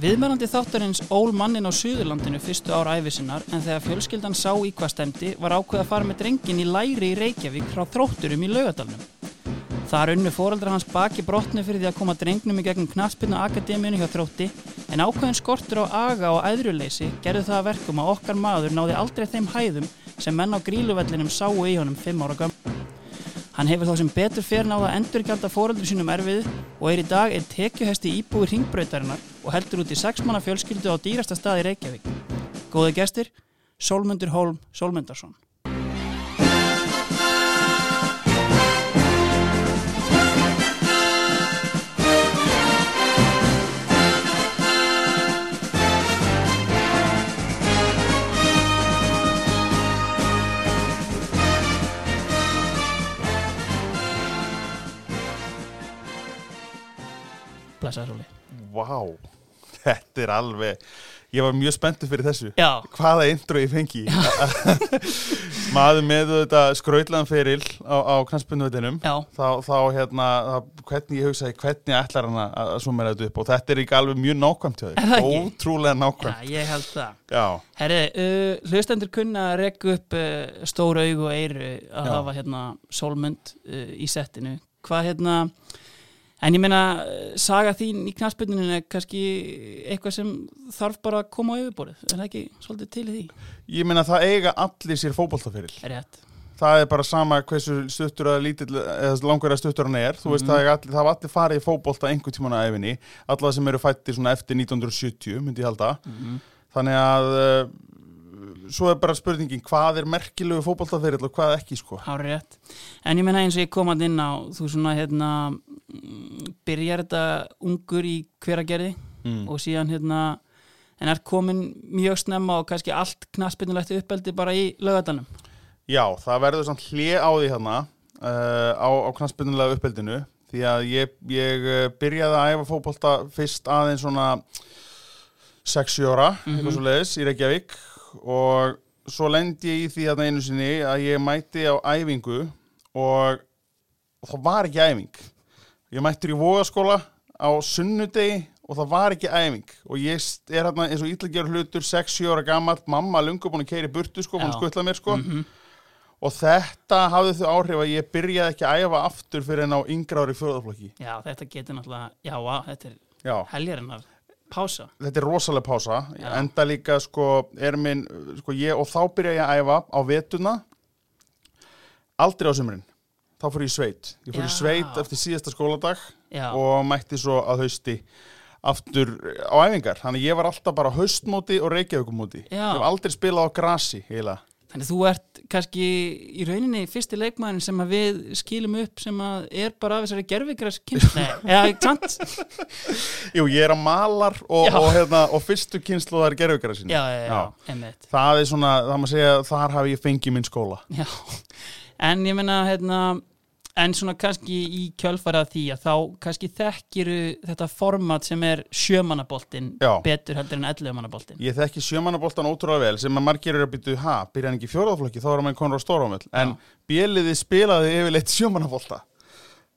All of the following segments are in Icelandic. Viðmælandi þáttarins ól mannin á Suðurlandinu fyrstu ára æfisinnar en þegar fjölskyldan sá í hvað stemdi var ákveð að fara með drengin í læri í Reykjavík frá þrótturum í laugadalnum. Þar unnu foreldrar hans baki brotni fyrir því að koma drengnum í gegnum knaspinu akademíunni hjá þrótti en ákveðin skortur á aga og æðruleysi gerðu það að verkum að okkar maður náði aldrei þeim hæðum sem menn á gríluvellinum sáu í honum fimm ára göm. Hann hefur þá sem betur fyrir náða að endurgjald að fóröldur sínum erfið og er í dag einn tekjuhesti íbúi ringbrautarinnar og heldur út í sex manna fjölskyldu á dýrasta staði Reykjavík. Góði gestir, Sólmundur Holm Sólmundarsson. Blessaður Sóli. Vá, þetta er alveg Ég var mjög spenntur fyrir þessu Já. Hvaða intro ég fengi Maður með þetta skrautlaðan feril á, á knastbunduvetinum Já. þá, þá hérna, þá- hvernig ég hugsaði hvernig ætlar hann að að summera þetta upp og þetta er ekki alveg mjög nákvæmt hjá Er það þig ekki? Ótrúlega Já, nákvæmt ég held það. Já, Herri, uh, hlustendur kunna að rekku upp uh, stór aug og eyru að Já. hafa hérna Sólmund uh, í settinu. Hvað hérna, en ég meina eh, saga þín í knastbyrnuninu er kannski eitthvað sem þarf bara að koma á yfirborðið, er það ekki svolítið til í því? ég meina það eiga allir sér fótboltaferil Rétt. það er bara sama hversu stuttur að lítill eða langur að stuttur hann er þú veist það, er allir, það hafa allir farið í fótbolta einhvern tíman að æfinni allar sem eru fættir svona eftir 1970 myndi ég halda Mhm, þannig að uh, svo er bara spurningin hvað er merkilegu fótboltaferill og hvað ekki sko Hári rétt. En ég meina eins og ég kom að inn á, þú svona hérna, mm, byrjar þetta ungur í hveragerði Mm. og síðan hérna, en ert komin mjög snemma og kannski allt knaspinnulegt uppeldi bara í lögadalum. Já, það verður samt hlið á því hérna uh, á, á knastbyrnulega uppeldinu því að ég, ég eh, byrjaði að æfa fótbolta fyrst aðeins svona 6-7 ára eitthvað svo leiðis í Reykjavík og svo lendi ég í því þarna einu sinni að ég mæti á æfingu og það var ekki æfing ég mættur í vogaskóla á sunnudegi og það var ekki æfing og ég st- er hérna eins og ítlagjör hlutur 6-7 ára gamalt, mamma lungu búin að keiri burtu sko, búin Já. að skutla mér sko og þetta hafði þau áhrif að ég byrjaði ekki að æfa aftur fyrir en á yngra ári fjóðaflokki Já, þetta getur náttúrulega, já, á, þetta er já, heljarinn af pása. þetta er rosalega pása Já. enda líka sko, er minn sko, ég, og þá byrja ég að æfa á vetuna aldrei á sumrin þá fór ég í sveit ég fór í Já. sveit eftir síðasta skóladag Já. og mætti svo að hausti aftur á æfingar þannig að ég var alltaf bara á haustmóti og reykjavíkumóti ég Já. hef aldrei spilað á grasi heila Þannig þú ert kannski í rauninni fyrsti leikmæðin sem að við skilum upp sem að er bara af þessari gerfigræs kynst. Nei, eða, sant? Jú, ég er á malar og, Já. og, hérna, og fyrstu kynsluðar gerðugara sín Já, já, já, emmitt. Það er svona, það má segja, þar hafi ég fengið minn skóla Já, en ég meina hérna, en svona kannski í kjölfarað því að þá kannski þekkiru þetta format sem er sjömanaboltin Já. betur heldur en ellumannaboltin. Ég þekki sjömanaboltan ótrúlega vel sem að margir eru að byrja, ha, byrja hann ekki í fjóraðaflokki þá erum hann konur á stóramöll en bjöliði spilaði yfirleitt sjömanabolta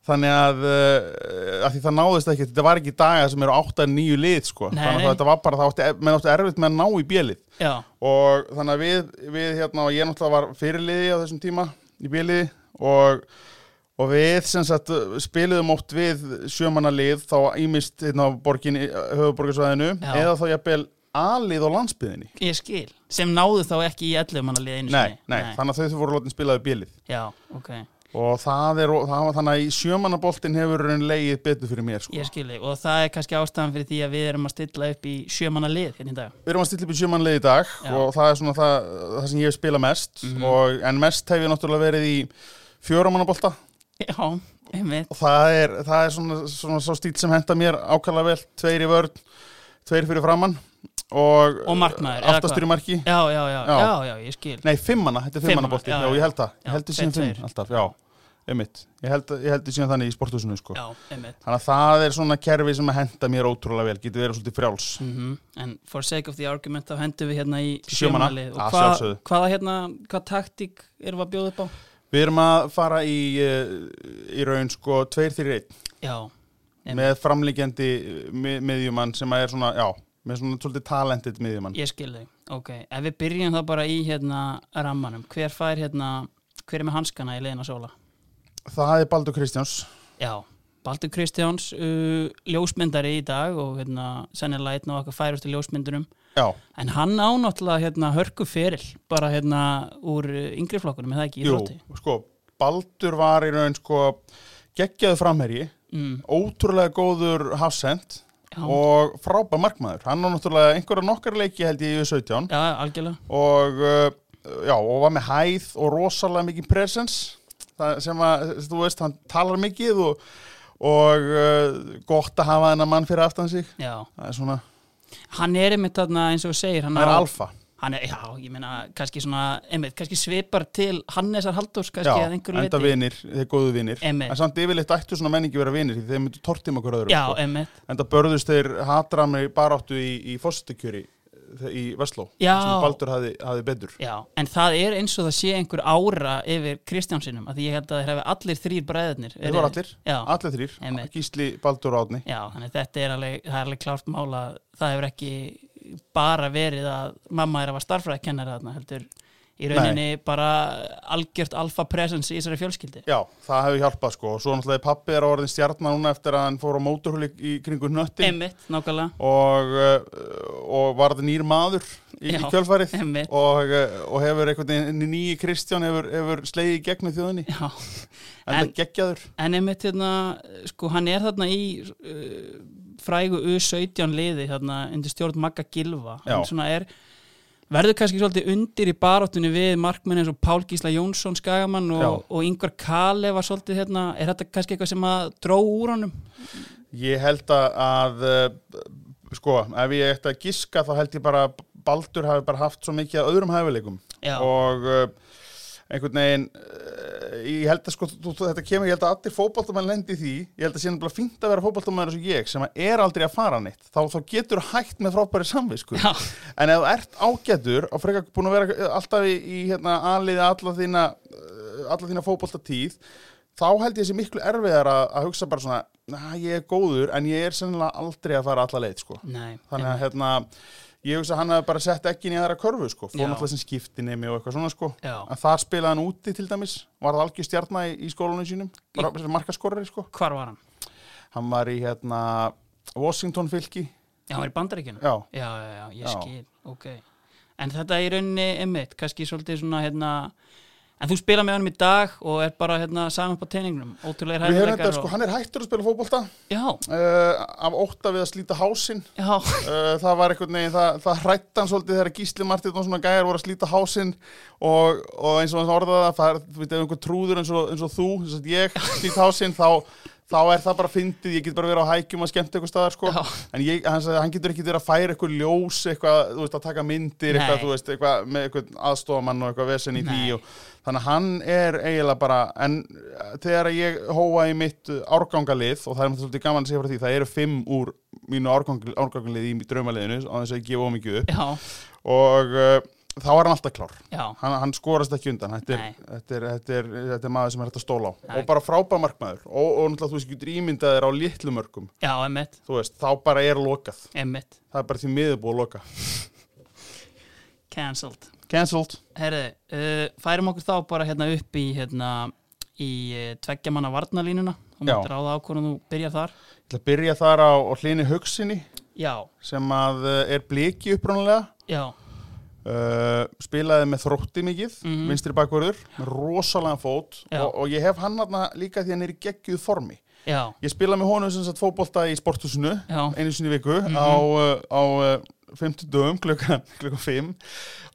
Þannig að, uh, að því það náðist ekki, þetta var ekki daga sem eru 8-9 lið sko Nei, Þannig að nei. þetta var bara, það átti, e, menn átti erfitt með að ná í bjölið Já, og þannig að við, við hérna og ég náttúrulega var fyrirliði á þessum tíma í bíliði og, og við sem sagt spiliðum oft við sjömanalið þá ímist hérna á borgin höfuborgarsvæðinu Já. eða þá jafnvel alið á landsbyðinni ég skil. Sem náðu þá ekki í ellumannalið einu nei, nei, þannig að þau þau voru látin spilaði bílið Já, ok. og það er, og það var þannig að í sjömanaboltin hefur raun legið betur fyrir mér sko. Ég skilji og það er kannski ástæðan fyrir því að við erum að stilla upp í sjömanna lið hérna í dag. Við erum að stilla upp í sjömanlið í dag Já. og það er svona það, það sem ég hef spilað mest og, en mest hef ég náttúrulega verið í fjóramanabolta Já, einmitt. og það er, það er svona, svona svo stíl sem henda mér ákala vel tveir í vörn, tveir fyrir framann og, Og markmaður, eða aftastur í marki Já, já, já, já, Já. já, ég skil. nei fimmana, þetta er Fimmana, fimmana bolti já, já, já. ég held það, Já, ég held tveir, það síðan tveir. fimm alltaf, já, einmitt ég held, ég held það síðan þannig í sporthúsinu sko. Já, einmitt. þannig að það er svona kerfi sem að henda mér ótrúlega vel, getur verið svolítið frjáls Mm En for sake of the argument þá hendum við hérna í Sjömanna, sjömanna lið. Og að hvað, sjálfsögðu. hvaða hérna, hvað taktík erum við að bjóða upp á? við erum að fara í eh, í raun sko 2-3-1 Já, Einmitt. með framlíkjandi mi- miðjumann sem að er svona, já, með svona svolítið talentið miðjumann. Ég skil þau, ok. Ef við byrjum þá bara í hérna rammanum, hver fær hérna, hver er með hanskana í leiðina sóla? Það er Baldur Kristjáns. Já, Baldur Kristjáns, uh, ljósmyndari í dag og hérna sennilega einn á okkar færustu ljósmyndunum. Já, En hann á náttúrulega hérna hörku feril, bara hérna úr uh, yngri flokkunum, er það ekki í jú, þrótti? sko, Baldur var í raun sko geggjaðu framherji, Mm, ótrúlega góður hafsend já, og frábær markmaður. Hann á náttúrulega einhverja nokkar leiki held ég í 17 já, algjörlega. og uh, já, og var með hæð og rosalega mikið presence Það sem að, þú veist, hann talar mikið og, og uh, gott að hafa þennan mann fyrir aftan sig Já, það er svona, hann er einmitt þarna eins og þú segir, hann það er á- alfa hann er, já, ég meina, kannski svona, einmitt, kannski svipar til Hannesar Halldórs, já, kannski að einhverju enda vinir, þeir góðu vinir Einmitt. en samt yfirleitt ættu svona menningi vera vinir því þeir myndu tortíma okkur öðrum Já, sko. einmitt. enda börðust þeir hatra mig baráttu í, í fórstakjöri í Vestló Já. sem Baldur hafði, hafði betur Já, en það er eins og það sé einhver ára yfir Kristjánsinum, að því ég held að þeir hafi allir þrýr bræðirnir. þeir voru allir, Já, allir þrýr Einmitt. Gísli, Baldur og Átni já, þannig að þetta er alveg, það er alveg klárt mála, það hefur ekki bara verið að mamma er að var starfræðkennari þarna, heldur í rauninni bara algjört alfa presence í þessari fjölskyldi. Já, það hefur hjálpað sko og svo náttúrulega pappi er á orðin stjarnar núna eftir að hann fór á móturhulli í kringu hnöttin Einmitt, nákvæmlega. og, uh, og varði nýr maður í, í Já, kjölfarið einmitt. og, uh, og hefur einhvern veginn nýji Kristján hefur, hefur slegið í gegnum þjóðinni Já, en En- það geggjaður en einmitt hérna, sko, hann er þarna í uh, frægu U17 liði, þarna, undir stjórn Magga Gilva. Já. Hann svona er, verður kannski svolítið undir í baráttunni við markmenn eins og Pál Gísla Jónsson Skagamann og, Já. og Ingvar Kale var svolítið hérna, er þetta kannski eitthvað sem að dró úr honum? Ég held að, að uh, sko, ef ég ætti að giska þá held ég bara að Baldur hafi bara haft svo mikið að öðrum hæfileikum Já, og uh, einhvern veginn uh, ég held að sko, þú, þú, þetta kemur ég held að allir fótboltamenn lendi í því, ég held að sé náttúrulega fínt að vera fótboltamenn eins og ég sem að er aldrei að fara neitt, þá, þá getur hægt með frábæri samvisku, Já. en ef þú ert ágætur og frekar búin að vera uh, alltaf í, í hérna, anliði alla þína uh, alla þína fótboltatíð þá held ég sé miklu erfiðar að, að hugsa bara svona, "Nah, ég er góður en ég er sennilega aldrei að fara alla leið sko. nei, þannig að hérna ég hugsa að hann hafi bara sett ekki í aðra körfu sko, fór Já. náttúrulega sem skipti nemi og eitthvað svona sko Já. en þar spilaði hann úti til dæmis varð algjör stjarnar í, í skólanum sínum bara sem markaskorari sko hvar var hann? hann var í hérna Washington fylki Já, hann var í bandaríkjunum? já, já, já, já, ég Já. skil, ok. En þetta er í rauninni einmitt, kannski svolítið svona, hérna, en þú spila með honum í dag og er bara, hérna, saman upp á teiningnum, ótrúlega við höfum þetta og... sko, hann er hættur að spila fótbolta Já, uh, af ótta við að slíta hásinn já, Uh, það var einhvern veginn, það, það hrætt hann svolítið þegar Gísli Martíð og svona gæjar voru að slíta hásinn og, og eins og hann orðaði það, það er, þú veit, ef einhver trúður eins og, eins og þú, eins og ég slít hásinn, þá, þá er það bara fyndið, ég get bara verið á hækjum að skemmta eitthvað staðar, sko, Já. en ég, hann, sagði, hann getur ekki verið að færa eitthvað ljós, eitthvað, þú veist, að taka myndir, Nei. eitthvað, þú veist, eitthvað, með eitthvað aðstofamann og eitthvað vesen í Nei. því og Þannig að hann er eiginlega bara, en uh, þegar ég hóa í mitt uh, árgangalið og það er svolítið gaman að segja frá því, það eru fimm úr mínu árgangalið, árgangalið í draumaliðinu á þess að ég gefa ómikið upp já, og uh, þá er hann alltaf klár. já, Hann, hann skorast ekki undan, þetta er, Nei. þetta, er, þetta, er, þetta er maður sem er hægt að stóla á Nei. og bara frábær markmaður og, og náttúrulega þú veist ekki drýmyndað þér á litlu mörgum, já, einmitt, þú veist, þá bara er lokað, einmitt, það er bara því miður búið að loka. cancelled. Cancelled, Herði, uh, færum okkur þá bara hérna upp í, hérna, í uh, tveggja manna varnalínuna og Já. máttir á það á hvernig þú byrjar þar. ég ætla að byrja þar á, á hlýni hugsinni Já, sem að uh, er bliki upprónulega já, Uh, spilaði með þrótti mikið Mhm. vinstri bakverður, með rosalega fót Já. og, og ég hef hann hann líka því hann er í geggjuð formi já, ég spila með honum sem sagt fótbolta í sporthúsinu já, Mhm. einu sinni í viku á, uh, á uh, 50 dögum klukkan klukkan 5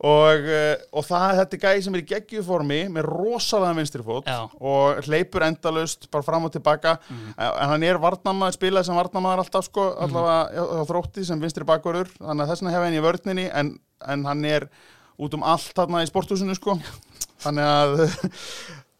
og, uh, og það þetta er gæði sem er í geggjuð formi með rosalega vinstri fót Já. Mhm. og hleypur endalaust bara fram og tilbaka Eh, en hann er varnamaður, spilaði sem varnamaður alltaf sko, allavega hjá- hjá þrótti sem vinstri bakverður þannig að þessna hef hann í vörninni en, en hann er út um allt þarna í sporthúsinu sko þannig að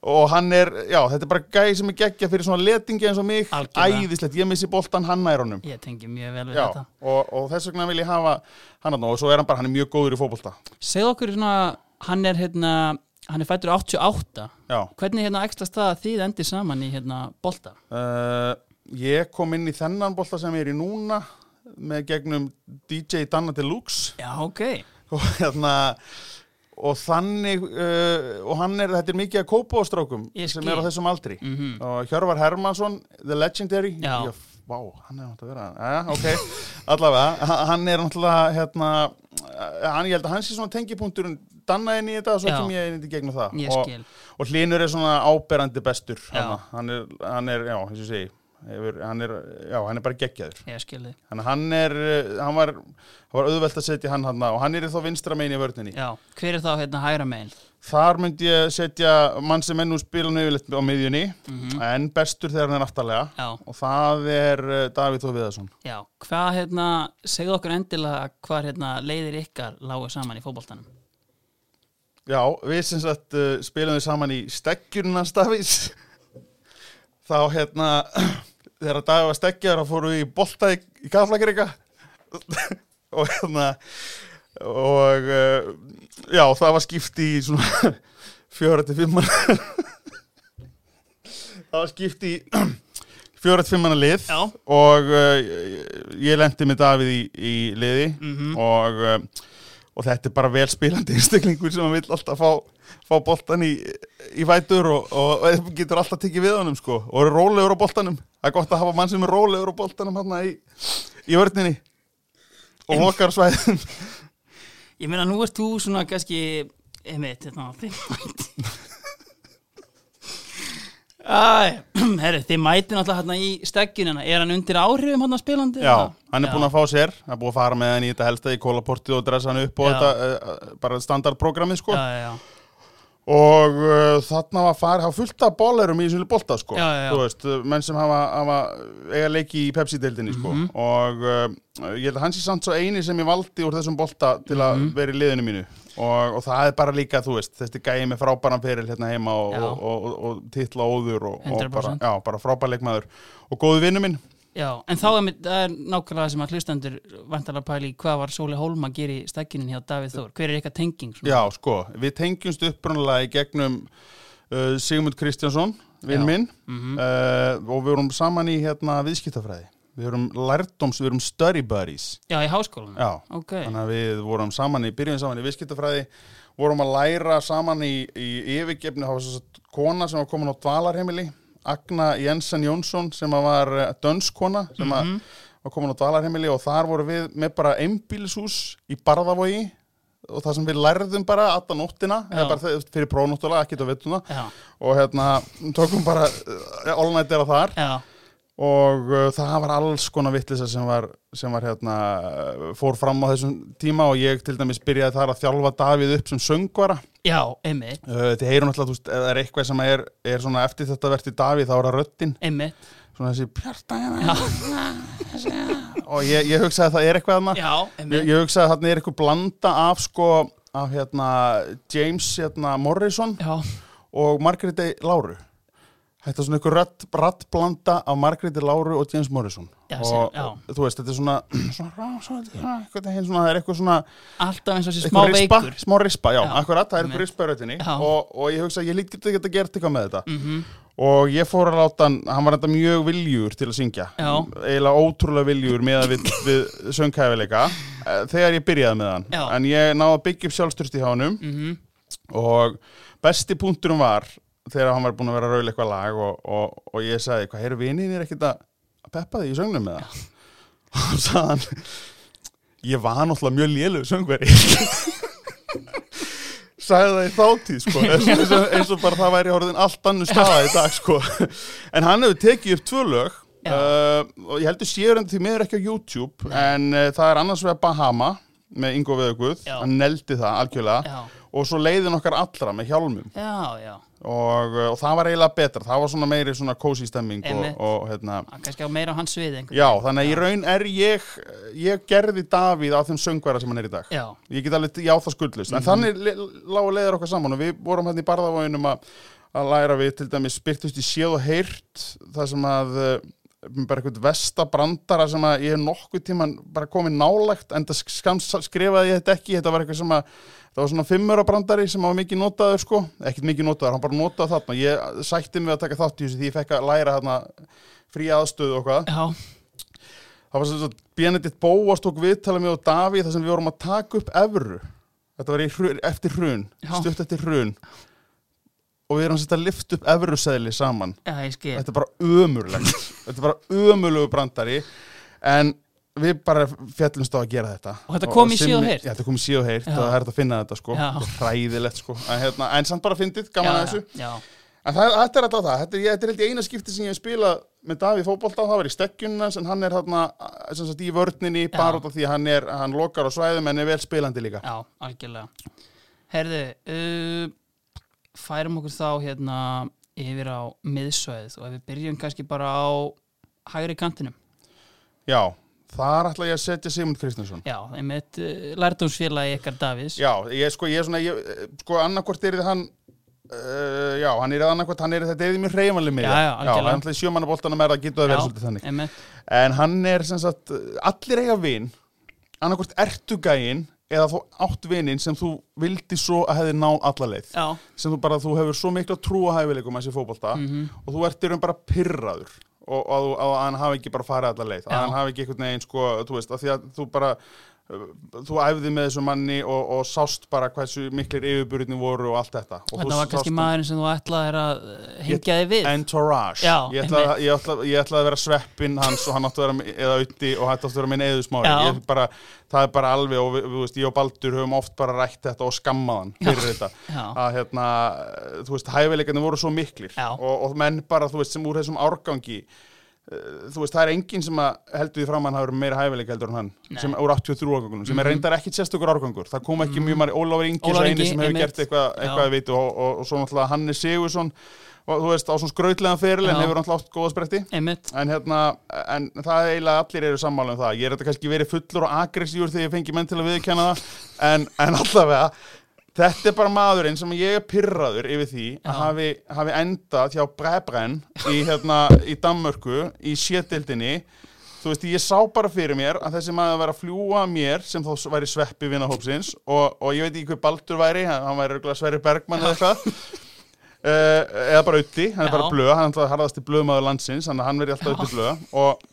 og hann er, já, þetta er bara gæði sem er geggja fyrir svona letingi eins og mig Algjörlega. æðislegt, ég missi boltan hann nær honum ég tengi mjög vel við Já, þetta. og, og þess vegna vil ég hafa hann að og svo er hann bara, hann er mjög góður í fótbolta Segð okkur svona, hann er hérna, hann er fættur 88 Já, Hvernig hérna ekstra staða þið endið saman í hérna bolta? uh, ég kom inn í þennan bolta sem ég er í núna með gegnum DJ Danna Deluxe Já, ok. og hérna og þannig uh, og hann er, þetta er mikið að kópa á strákum Ég sem skil. er á þessum aldri Mm og Hjörvar Hermansson, The Legendary Já. f- vá, hann er náttúrulega að vera ja, ok, allavega, h- hann er náttúrulega hérna, eh, hann, ég held að hann sé svona tengipunkturinn danna inn í þetta og svo Já. kem ég inn í gegnum það Ég og, skil. og Hlynur er svona áberandi bestur Já. hann, hann, er, hann er, já, eins og ég segi hefur, hann, er, já, hann er bara geggjaður Ég skil þig. Þannig að hann er, eh, hann var, hann var auðvelt að setja hann hann og hann er þá vinstra megin í vörninni. Já. Hver er þá hérna hægra megin? Þar myndi ég setja mann sem ennú spila hann yfirleitt á miðjunni Mhm. en bestur þegar hann er aftalega Já. og það er eh, Davíð Þó Viðarsson. Já. Hvað hérna, segðu okkur endilega hvað hérna leiðir ykkar lágu saman í fótboltanum? Já, við sem sagt uh, spilum við saman í stekkjurnans Davís. Þá hérna, þegar Davíð var stekkjar þá fórum við í bolta í, í kaflakrika og hérna og uh, já, það var skipti í svona fjóra til fimm manna það var skipti í fjóra til fimm manna lið Já. og uh, ég lendi með Davíð í, í liði og, uh, og þetta er bara velspilandi einstaklingur sem vill alltaf fá, fá boltan í, í vætur og, og, og getur alltaf tekið við honum sko og er rólegur á boltanum það er gott að hafa mann sem er rólegur á boltanum hann í, í vörninni og lokar svæðum Ég meina, nú ert þú svona kannski, einmitt, hérna, þið mæti. Æ, herri, þið mæti náttúrulega hérna í steggjunina. Er hann undir áhrifum hérna spilandi? Já, hann er búinn að fá sér, hann er búinn að fara með hann í þetta helsta í kólaportið og dressa hann upp og Já. þetta uh, bara standardprogrammið sko Já, já, já. og uh, þarna var farið, hafa fullt af bólarum í þessu bolta sko, Já, já, já. þú veist, uh, menn sem hafa, hafa eiga leiki í Pepsi-deildinni sko Mhm. og uh, ég held að hans er samt svo eini sem ég valdi úr þessum bolta til Mhm. að vera í liðinu mínu og, og það er bara líka, þú veist, þessi gæi með frábæran feril hérna heima og, Já. og, og, og, og titla óður og, og bara, 100%. já, bara frábær leikmaður og góðu vinnu minn Já, en þá er, mitt- það er nákvæmlega það sem að hlustendur vantarlega pæli í hvað var Sóli Hólm að gera í stækjunin hjá Davíð Þór. Hver er eitthvað tenging? Svona? Já, sko, við tengjumst upprunalega í gegnum uh, Sigmund Kristjánsson, Já. Mhm. vinn minn uh, og við vorum saman í hérna viðskiptafræði. Við vorum lærdoms, við vorum study buddies. Já, í háskólanum? Já, Ok, þannig að við vorum saman í, byrjum saman í viðskiptafræði, vorum að læra saman í, í yfirgefni, það var svo satt kona sem var komin á dvalarheimili, Agna Jensen Jónsson sem að var eh, dönskona sem að Mhm. var komin á dvalarheimili og þar voru við með bara einbílshús í Barðavogi og það sem við lærðum bara alltaf nóttina, Já. eða bara þau- fyrir prófnóttulega, ekkert á vettuna já, og hérna, tókum bara eh, all night er þar já, og uh, það var alls konar vittlisa sem var, sem var hérna, uh, fór fram á þessum tíma og ég til dæmis byrjaði þar að þjálfa Davíð upp sem söngvara já, einmitt, uh, þið heyrum alltaf, þú veist, ef það er eitthvað sem er, er svona eftir þetta verti Davíð þá er það röddin einmitt, svona þessi bjarta hérna. og ég, ég hugsaði að það er eitthvað þarna já, ég, einmitt, ég hugsaði að þarna er eitthvað blanda af sko af hérna James hérna, Morrison já, og Margréti Láru Þetta er svona einhver rödd, rödd blanda af Margréti Láru og James Morrison Já, og, sem- já. og þú veist, þetta er svona svona, rá, svona, svona, einhvern veginn svona það er eitthvað svona alltaf eins og þessi smá eitthvað rispa, veikur. smá rispa, já, Já, akkurat, það er einmitt. eitthvað rispa í röddinni Já. og, og ég hugsa að ég líkt ekki að gera eitthvað með þetta Mm og ég fór að láta hann, hann var enda mjög viljur til að syngja, Já. eiginlega ótrúlega viljur með að við, við sönghæfileika eh, þegar ég byrjaði með hann Já. Mhm. en ég náði að byggja upp sjálfstyrst í hánum og besti punkturum var þegar hann var búin að vera að raula eitthvað lag og, og, og ég sagði, hvað, heyrðu vinnin er ekkert að að peppa því í söngnum með það og hann sagði hann ég var náttúrulega mjög lélug söngveri sagði það í þáttíð sko eins og, eins og, eins og bara það væri orðin allt annu staða í dag sko en hann hefur tekið upp tvö lög Já. uh, og ég heldur séur hann því miður ekki á YouTube en uh, það er annars vegar Bahama með Ingo Veðuguð, Já. hann neldi það algjörlega Já, og svo leiðin okkar allra með hjálmum já, já, og, uh, og það var eiginlega betra, það var svona meiri svona kósi stemming og, Einmitt. og hérna Hann kannski á meira á hans sviði einhvern já, þannig að í raun er ég ég gerði Davíð á þeim söngvara sem hann er í dag Já, ég get alveg, já það skuldlust en þannig le- lágu leiðir okkar saman og við vorum hérna í barðavóginum að að læra við til dæmis spyrtust í séð og heyrt það sem að eh, bara eitthvað vestabrandara sem að ég hef nokkuð tíman bara komið nálægt en það skams, skrifaði ég þetta ekki þetta var eitthvað sem að það var svona fimmurabrandari sem var mikið notaður sko ekkert mikið notaður, hann bara notaði þarna ég sætti mig að taka þátt í þessu því ég fekk að læra þarna frí aðstöðu og hvað Já, það var sem sagt Benedikt Bóas tók viðtala mig og Davíð þar sem við vorum að taka upp evru þetta var í hrun, eftir hrun, Já. stutt eftir hrun og við erum sem sagt að lifta upp evruseðli saman já, ég skil þetta er bara ömurlegt þetta er bara ömurlegu brandari en við bara fjallumst á að gera þetta Og þetta kom í Simmi- síð og heyrt? Já, þetta kom í síð og heyrt Já. og það er hægt að finna þetta sko Já. Þetta er hræðilegt sko en, hérna, en samt bara fyndið, já, gaman að þessu já, En það, þetta er alltaf það, þetta er, ég, þetta er held ég eina skipti sem ég hef spilað með Davíð fótbolta, það var í stekkjunna en hann er þarna, eh, sem sagt, í vörninni Já. bara út af því að hann er, hann lokar á svæðum en er vel spilandi líka. já, algjörlega Herðu, uh, færum okkur þá hérna yfir á miðsvæðið og ef við byrjum kannski bara á hægri kantinum Já, þar ætla ég að setja Sigmund Kristinsson. Já, einmitt uh, lærdómsfélagi ykkar Davís Já, ég sko, ég er svona, ég, eh, sko, annarkvort er þið hann, uh, já, hann er annarkvort, hann er þetta eða mjög reyfanlega með Já, já, algjörlega. hann ætlaði sjömannaboltanum er það getur að vera svolítið þannig. einmitt En hann er sem sagt, allir eiga vin, annarkvort ertu gæinn eða þú átt vinin sem þú vildi svo að hefði náð alla leið. Já, sem þú bara, þú hefur svo mikla trú á hæfileikum að þessi fótbolta Mhm. og þú ert í raun bara pyrraður og, og, og, að hann hafi ekki bara farið alla leið, Já. að hann hafi ekki einhvern veginn sko, þú veist, að því að þú bara uh, þú æfði með þessum manni og, og sást bara hversu miklir yfirburðni voru og allt þetta. Og þú þetta var kannski sást- maðurinn sem þú ætlaðir að eh, hengja þig við Entourage. Já, ég, ætla, ég, ætla, ég ætla að vera sveppin hans og hann átti að vera, mi- eða auði og hann átti að vera minn eðusmári. Já. Ég bara, það er bara alveg og við, við veist, ég og Baldur höfum oft bara rætt þetta og skammaðan fyrir þetta. Já. Að hérna, þú veist, hæfileikarnir voru svo miklir Já. og, og menn bara, þú veist, sem úr þessum árgangi eh, þú veist, það er enginn sem að heldur því fram að hann hafa verið meira hæfileik heldur en hann Nei. Mhm. sem úr 83 árgangunum, sem er reyndar ekkit sérstakur árgangur það kom ekki mjög margir, Ólafur Ingi Ólafur Ólafur Ingi Ingi, sem hefur einmitt. gert eitthvað, eitthvað Já. að viti og, og, og svo náttúrulega Hanni Sigursson og, þú veist, á svona skrautlegan feril en Já. hefur náttúrulega átt góða spretti Einmitt, en hérna, en það er eiginlega allir eru sammála um það, ég er þetta kannski verið fullur og agressífur þegar ég fengi menn til að viðkenna það en, en allavega þetta er bara maðurinn sem ég er pyrraður yfir því Já. að hafi, hafi endað hjá Brebren í, hérna, í Danmörku í sétildinni þú veist, ég sá bara fyrir mér að þessi maður væri að fljúa að mér sem þá væri sveppi vinahópsins og, og ég veit ekki hver Baldur væri, hann hann væri örugglega Sverri Bergmann eða eitthvað uh, eða bara Utti, hann Já. er bara blöð hann er alltaf harðasti blöðmaður landsins þannig að hann verði alltaf uppi blöð og,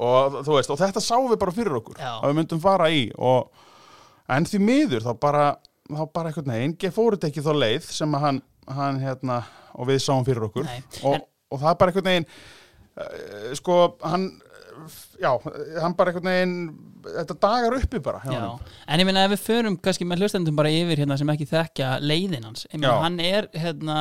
og þú veist, og þetta sáum við bara fyrir okkur Já. að við myndum fara í og, en því miður þá bara þá bara einhvern veginn, ég fóruð ekki þá leið sem að hann, hann hérna og við sáum fyrir okkur Nei, og, en- og það er bara einhvern veginn uh, sko, hann já, hann bara einhvern veginn þetta dagar uppi bara hjá já honum. En ég meina ef við förum kannski með hlustendum bara yfir hérna sem ekki þekkja leiðin hans Ég meina Já. hann er hérna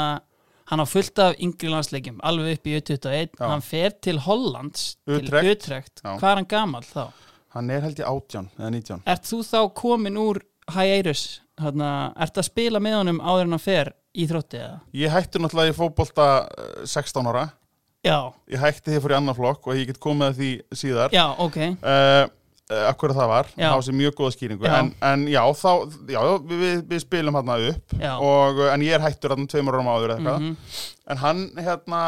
hann á fullt af yngri landsleikjum alveg upp í 21 Já. hann fer til Hollands Utrecht. til Utrecht Já. hvað er hann gamall þá? hann er held ég átján eða nítján Ert þú þá komin úr Hiatus? Hérna, ert að spila með honum áður en hann fer í þrótti eða? ég hætti náttúrulega í fótbolta eh, 16 ára Já, ég hætti þið fyrir annar flokk og ég get komið að því síðar já, ok uh, akkur það var, Já. það var sér mjög góða skýringu Já. En, en já, þá, já við, við, við spilum hann upp Já. og, eh, en ég er hættur hann tveimur árum áður eða eitthvað Mhm. en hann hérna,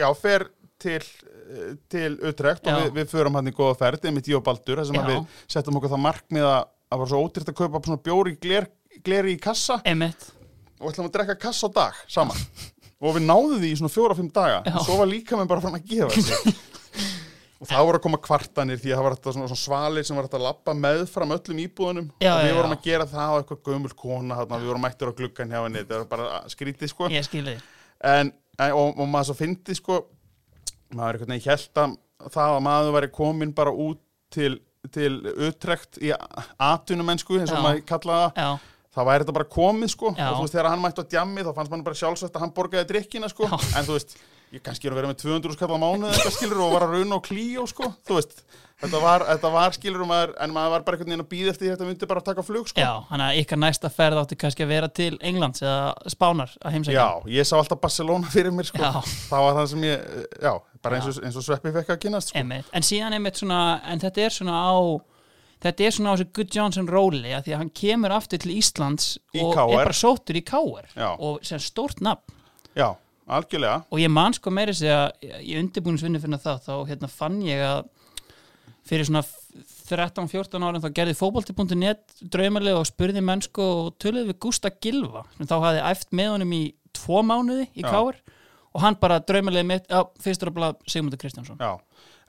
já, fer til eh, til utrekt og Já. við, við förum hann í góða ferð einmitt ég og Baldur, þess að Já. við settum okkur það markmið að að var svo ódýrt að kaupa svona bjóri gler, gleri í kassa Einmitt, og ætlum að drekka kassa á dag saman og við náðum því í svona fjóra-fimm daga Já. og svo var líka með bara fann að gefa sig og það voru að koma kvartanir því að það var þetta svona, svona svalir sem var þetta að lappa með fram öllum íbúðunum Já, og já, við vorum já. að gera það á eitthvað gömul kona þarna, við vorum mættir á gluggan hjá henni þetta var bara skrítið sko ég skil þig en, en, og, og maður svo fyndi sko maður einhvern veginn held að það að maður væri komin bara út til, til utrekt í atunumennsku eins og Já. maður kallaða Já, þá væri þetta bara komið sko Já. og þú veist þegar hann mætti á djammi þá fannst mann bara sjálfsagt að hann borgaði drikkina sko Já. en þú veist, ég kannski er að vera með 200 skall á mánuð eitthvað skilur og var að rauna og klíó sko þú veist, þetta var, þetta var skilur maður, en maður var bara einhvern veginn að býða eftir því að þetta myndi bara að taka flug sko já, hann að ykkar næsta ferð átti kannski að vera til Englands eða Spánar að heimsækja Já, ég sá alltaf Barcelona fyrir mér sko Já. það var það sem ég, já, bara eins og, eins og sveppi fekk að kynast sko Einmitt. En síðan einmitt svona, en þetta er svona á þetta er svona á þessu Good Johnson róli að því að hann kemur aftur til Íslands Í og KR. er bara sóttur í KR Já. og sem stórt nafn Já, algjörlega og ég man sko meiri sig að í undirbúinsvinni fyrir það þá hérna fann ég að fyrir svona 13-14 árum þá gerði fótbolti.net draumalega og spurði mennsko og töluði við Gústa Gilva sem þá hafði æft með honum í tvo mánuði í Já. KR og hann bara draumalegið mitt, já, fyrst er að blá Sigmundur Kristjánsson. Já,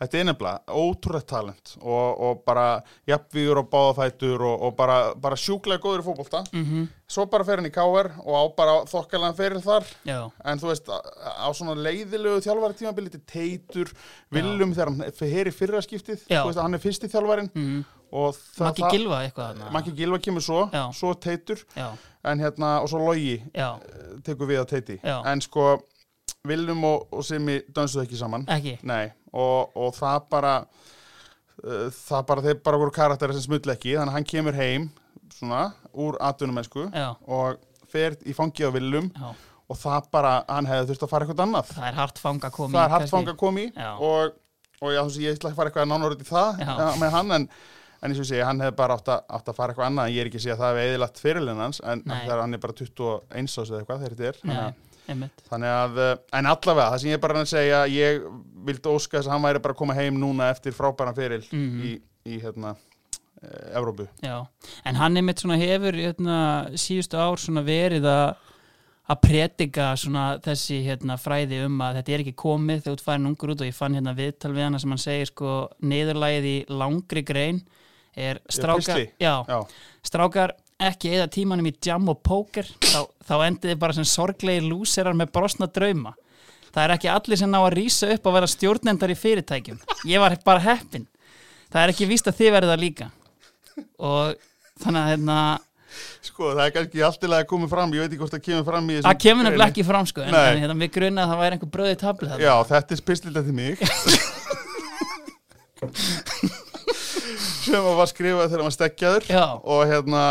þetta er nefnilega ótrúlegt talent og, og bara jafnvíður og báðafætur og, og bara, bara sjúklega góður í fótbolta Mhm. -hmm. svo bara fer hann í káver og á bara þokkalega fyrir þar Já, en þú veist, á á svona leiðilegu þjálfari tímabili, þetta er teitur viljum þegar hann fer í fyrra skiptið Já. þú veist, hann er fyrsti þjálfarin Mhm. og það, Maggi Gilva eitthvað. þarna. Maggi Gilva kemur svo, Já. svo teitur Já, en hérna, og svo logi eh, já, tekur við að teiti Já. en sko, Viljum og, og Simi dönsuðu ekki saman ekki. Nei, og, og það bara uh, það bara, þeir bara voru karakterar sem smull ekki, þannig að hann kemur heim svona, úr atvinnumennsku Já, og fer í fangi á villum já, og það bara, hann hefði þurft að fara eitthvað annað það er hart fanga komið. það er hatt fang að koma í Já. og, og já, þú sé, ég ætla ekki að fara eitthvað nánar út í það Já. ja, með hann, en En eins og ég segi, hann hefði bara átt að, átt að fara eitthvað annað, en ég er ekki að segja að það hefði eðilagt fyrirlinn hans, en Nei. þegar hann er bara 21 ás eða eitthvað þegar þetta er. þannig að- Nei, einmitt. Þannig að, eh, en allavega, það sem ég er bara að reyna að segja, ég vildi óska þess að hann væri bara að koma heim núna eftir frábæran feril Mhm. í, í hérna, eh, Evrópu. Já, en hann einmitt svona hefur hérna, síðustu ár svona verið að að predika svona þessi hérna, fræði um að þetta er ekki komið þegar þú færin ungur út og ég fann hérna viðtal við hana sem hann segir sko niðurlægið í langri grein er strákar, pistli. já, Já, strákar ekki eða tímanum í jam og póker þá, þá endið þið bara sem sorglegi lúserar með brosna drauma það er ekki allir sem ná að rýsa upp að vera stjórnendar í fyrirtækjum ég var bara heppin það er ekki víst að þið verið það líka og þannig að hérna, sko, það er kannski allt til að koma fram, ég veit ekki hvort það kemur fram í þessum... það kemur nefnilega greinum. ekki fram sko, en, Nei. en hérna, við grunna að það væri einhver bröði tabli þarna. Já, þetta er spilstilda til mig. sem að var skrifað þegar hann var stekkjaður Já. og hérna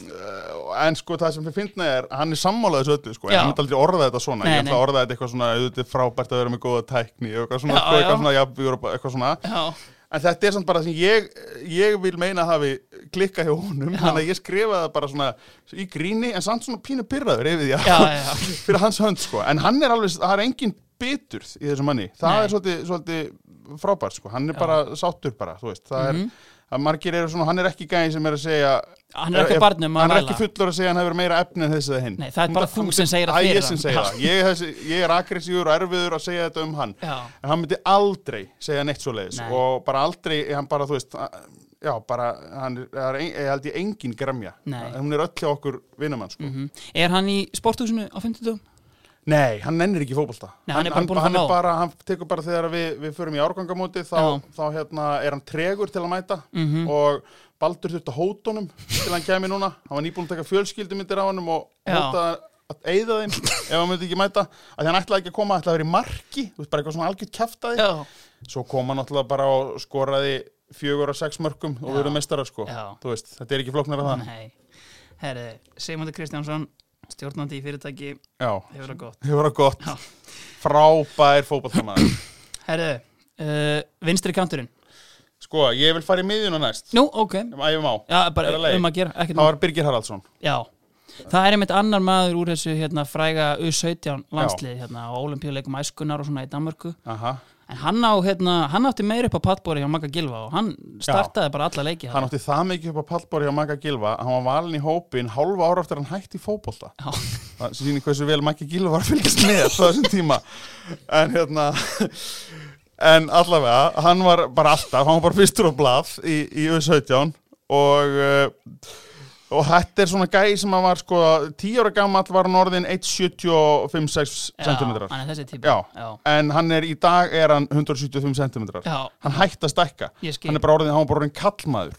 eh, en sko það sem við finna er hann er sammálaðis öllu sko, en Já. hann myndi aldrei orða þetta svona Nei, ég ætla nei. að orða þetta eitthvað svona auðvitað er frábært að vera með góða tækni og eitthvað svona, Já, sko, já. eitthvað svona, jafnvígur og eitthvað svona Já, En þetta er samt bara sem ég, ég vil meina að hafi klikkað hjá honum, Já. þannig að ég skrifaði það bara svona í gríni, en samt svona pínu pyrraður yfir því já, að, já, já. fyrir hans hönd sko. En hann er alveg, það er engin biturð í þessum manni, það Nei. er svolítið, svolítið frábært sko, hann er Já. bara sáttur bara, þú veist, það Mhm. er, að margir eru svona, hann er ekki gæði sem er að segja, hann er ekki á barnum Eh, hann að er mæla ekki fullur að segja hann hefur meira efni en þessi eða hinn. Nei, það er bara þú sem segir það Æ, fyrir ég sem hann. segir það, ég, þessi, ég er agressífur og erfiður að segja þetta um hann já, en hann myndi aldrei segja neitt svo leiðis Nei. og bara aldrei, hann bara, þú veist að- já, bara, hann er- það er ein- ég held ég engin gremja, Nei. hún er öll hjá okkur vinnumann, sko. mhm. er hann í sporthúsinu á 50? Nei, hann nennir ekki í fótbolta Nei, hann er bara búinn að fá hann, nóg. er bara, hann tekur bara þegar við, við förum í árgangamóti þá, þá hérna, er hann tregur til að mæta Mhm. og Baldur þurfti að hóta honum til hann kemi núna, hann var nýbúin að taka fjölskyldumindir á honum og Já. hóta að eyða þeim ef hann myndi ekki mæta að hann ætlaði ekki að koma, ætlaði að vera í marki þú veist bara eitthvað svona algjört kjaftaði Já, svo kom hann náttúrulega bara og skoraði fjögur og sex mörgum og Já. við erum mestarar sko Já. þú veist, þetta er ekki flóknar að það nei Herri, Sigmundur Kristjánsson stjórnandi í fyrirtæki, já, hefur það gott það var gott Já. frábær fótballtamaður Herðu, uh, vinstri kanturinn sko, ég vil fara í miðjuna næst Nú, ok ef æfum á, Já, bara Er það leið? um að gera, ekkert það mál var Birgir Haraldsson Já, það er einmitt annar maður úr þessu hérna, fræga U17 landslið hérna, á olimpíuleikum æskunar og svona í Danmörku Aha. en hann, á, hérna, hann átti meir upp á pattbóri hjá Magga Gilva og hann startaði bara alla leiki hann átti það mikið upp á pallbóri hjá Magga Gilva að hann var valin í hópin hálfa ára eftir að hann hætti í fótbolta Já, það sýnir hversu vel Maggi Gílu var að fylgjast með á þessum tíma en hérna en allavega, hann var bara alltaf hann var bara fyrstur á blað í, í U17 og uh, og þetta er svona gæi sem að var sko 10 ára gamall var hann orðin 1,75-6 hérna. Já, cm hann er þessi típa Já. já, en hann er í dag er hann 175 cm já, hann hætti að stækka ég skil hann er bara orðin, hann var bara orðin kallmaður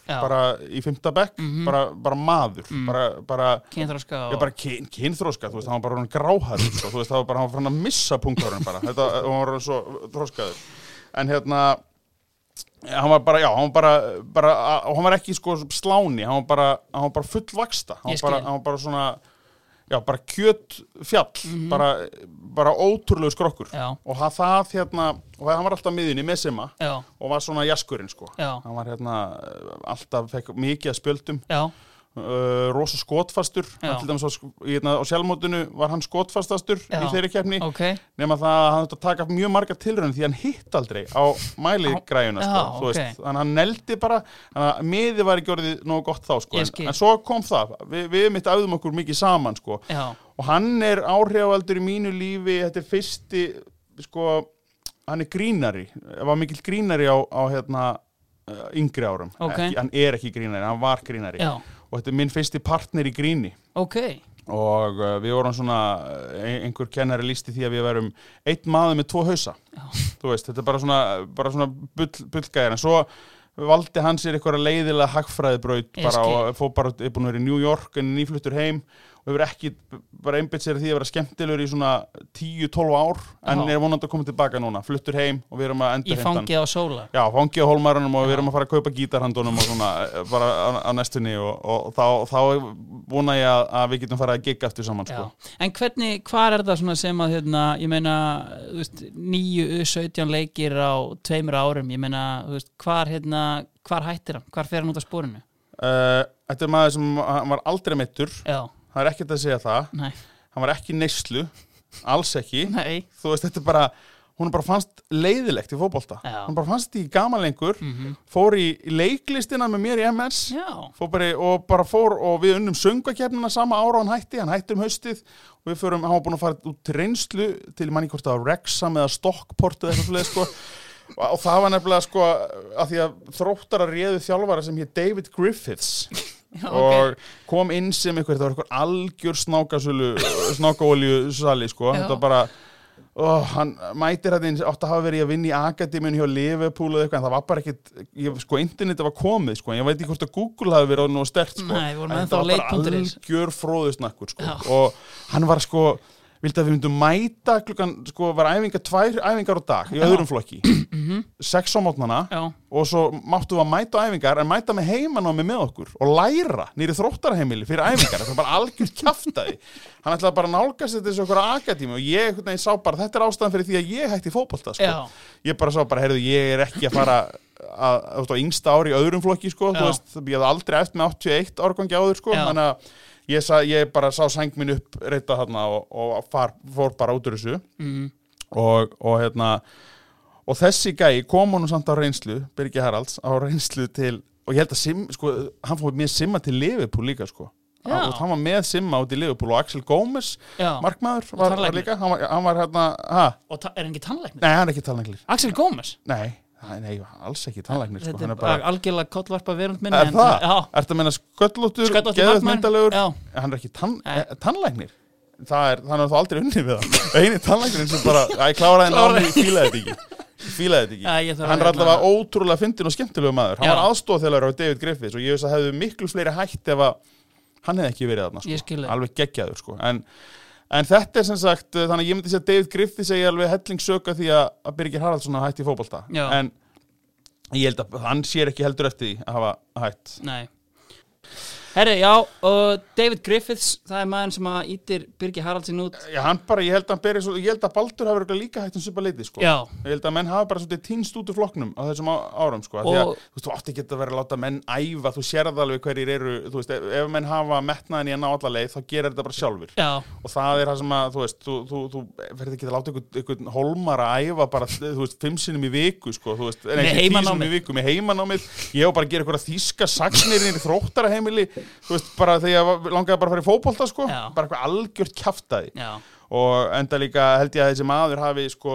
Já. Mhm. Mm. bara í fymta bekk, bara, bara maður bara, bara kynþroska og Já, bara kyn, kynþróska, þú veist, hann var bara orðinn gráhærður, sko, þú veist, það var bara, hann var fann að missa punktárun bara, þetta, hann var orðinn svo þróskaður, en hérna, hann var bara, já, hann var bara, bara og hann var ekki, sko, sláni, hann var bara, hann var bara fullvaksta, hann Ég var skil. bara, hann var bara svona, já, bara kjöt fjall, bara, bara ótrúlegu skrokkur, Mhm. Já, og hann, það, hérna, og hann var alltaf miðinni með sema, já, og var eh, svona jaskurinn, sko, já, hann var, hérna, alltaf, fekk mikið að spjöldum, já, uh, rosa skotfastur Já. Hann til dæmis á, sk- í hérna, á sjálfmótinu var hann skotfastastur Já. í þeirri keppni ok, nema það að hann þurfti að taka mjög marga tilraun því hann hitt aldrei á mæligræjuna Já, sko, þú ok. veist, þannig að hann neldi bara þannig að miði var ekki orðið nógu gott þá sko, Ég skil. en, en svo kom það Vi, við mitt auðum okkur mikið saman sko, já, og hann er áhrifaldur í mínu lífi þetta er fyrsti sko, hann er grínari var mikill grínari á, á hérna eh, yngri árum, Ok. ekki, hann er ekki grínari hann var grínari já, og þetta er minn fyrsti partner í gríni ok og uh, við vorum svona eh, ein- einhver kennari lísti því að við verum einn maður með tvo hausa Já. þú veist, þetta er bara svona, bara svona bull, bullgæðir en svo valdi hann sér eitthvað leiðilega hagfræðibraut Ég bara skil. og fór bara, er búin að vera í New York en er nýfluttur heim og hefur ekki bara einbytt sér að því að vera skemmtilegur í svona 10-12 ár en Já. er vonandi að koma tilbaka núna, fluttur heim og við erum að Í endur fangið á sóla Já, fangið á hólmarunum og við Já. erum að fara að kaupa gítarhandunum og svona eh, bara á, á næstunni og, og þá, þá vona ég að, að við getum farið að gigga aftur saman sko. Já. En hvernig, hvar er það svona sem að hérna, ég meina, þú veist, 9 17 leikir á tveimur árum, ég meina, þú veist, hvar hérna, hvar hættir hann, hvar fer hann út af spórinu? Eh, Þetta er maður sem hann var aldrei meittur, Já, það er ekkert að segja það, nei, hann var ekki neyslu, alls ekki, nei, þú veist þetta er bara, hún bara fannst leiðilegt í fótbolta, Já. hún bara fannst í gaman lengur, Mhm. fór í í leiklistina með mér í MS, já, fór bara, í- og bara fór og við unnum söngakefnina sama ára og hann hætti, hann hætti um haustið og við förum, hann var búin að fara út til reynslu til manni hvort það var Rexham eða Stockport eða eitthvað svoleiðis, sko og það var nefnilega sko að því að þróttara réðu þjálfara sem hér David Griffiths já, ok, og kom inn sem eitthvað, þetta var eitthvað algjör snákasölu, snákaolju sali, sko, Já. þetta var bara Oh, hann mætir þetta eins átt að hafa verið að vinna í Akademiun hjá Liverpool eða eitthvað en það var bara ekkit, ég, sko internet var komið sko, en ég veit ekki hvort að Google hafi verið nú stert sko, Nei, við vorum En ennþá þetta var á bara leit.is. algjör fróðusnakkur sko, Já. og hann var sko vildi að við myndum mæta klukkan, sko var æfingar, tvær æfingar á dag í öðrum flokki, sex á mótnana já, og svo máttum við að mæta á æfingar en mæta með heimanámi með okkur og læra nýri þróttarheimili fyrir æfingar þetta er bara algjör kjaftaði hann ætlaði bara að nálgast þetta eins og okkur akadími og ég einhvern veginn sá bara, þetta er ástæðan fyrir því að ég hætti fótbolta sko. já, ég bara sá bara, heyrðu, ég er ekki að fara að, þú veist, á yngsta ári í öðrum flokki sko, Já. þú veist, ég hafði aldrei eftir með 81 árgangi áður sko, Já. þannig að ég, sa, ég bara sá sæng minn upp reyta þarna og, og far, fór bara út úr þessu mm, og, og hérna og þessi gæi kom honum samt á reynslu Birgi Haralds á reynslu til og ég held að sim, sko, hann fór með Simma til Liverpool líka sko Já. Hann- hann var með Simma út í Liverpool og Axel Gómez já, markmaður var, var tannlæknir. líka hann var, hann var hérna, ha, og ta- er hann ekki tannlæknir? nei hann er ekki talnæknir Axel Gómez? nei, nei, nei, alls ekki talnæknir sko, Þetta er hann er bara, algjörlega kollvarpa verund minni er en- það? Já, Ertu að menna sköllóttur, Sköllóttur geðveikt markmaður? myndarlegur? Já. En hann er ekki tann, Nei. eh, tannlæknir það er, hann er þá aldrei unni við það eini tannlæknirinn sem bara, æ, kláraði námi ég fílaði þetta ekki, Ég fílaði þetta ekki. Já, ég þarf að hann er hérna- allavega ótrúlega fyndin og skemmtilegu maður hann Já. var aðstóðþjálfur á David Griffiths og ég veist að hefðu miklu fleiri hætt ef að hann hefði ekki verið þarna Ég skil sko. þig. alveg geggjaður sko. en, en þetta er sem sagt uh, þannig að ég myndi segja að David Griffiths segja alveg helling söka því að, að Birgir Haraldsson hafa hætt í fótbolta Já. en ég held að hann sér ekki heldur eftir því að hafa hætt Nei Herri, já, og David Griffiths það er maður sem að ítir Birgi Haraldsin út Já, hann bara, ég held að, hann beri, svo- ég held að Baldur hafi örugglega líka hægt um svipa leiti sko. Já, Ég held að menn hafa bara svolítið týnst út úr flokknum á þessum á- árum, sko. Og... Því að, Og- þú veist, þú átti ekki að vera að láta menn æfa, þú sérð alveg hverjir eru, þú veist, ef, ef menn hafa metnaðin í að ná alla leið, þá gerir þetta bara sjálfur. já, Og það er það sem að, þú veist, þú, þú, þú verður ekki að láta einhvern, einhvern hólmar að æfa bara, þú veist, fimm sinnum í viku, sko, þú veist, en Með ekki tíu heimanámi. sinnum í viku með heimanámið, ég á bara að gera einhverja þýska sagnirinn í þróttaraheimili, þú veist, bara þegar ég langaði bara að fara í fótbolta, sko, Já. bara eitthvað algjört kjaftaði já og enda líka held ég að þessi maður hafi sko,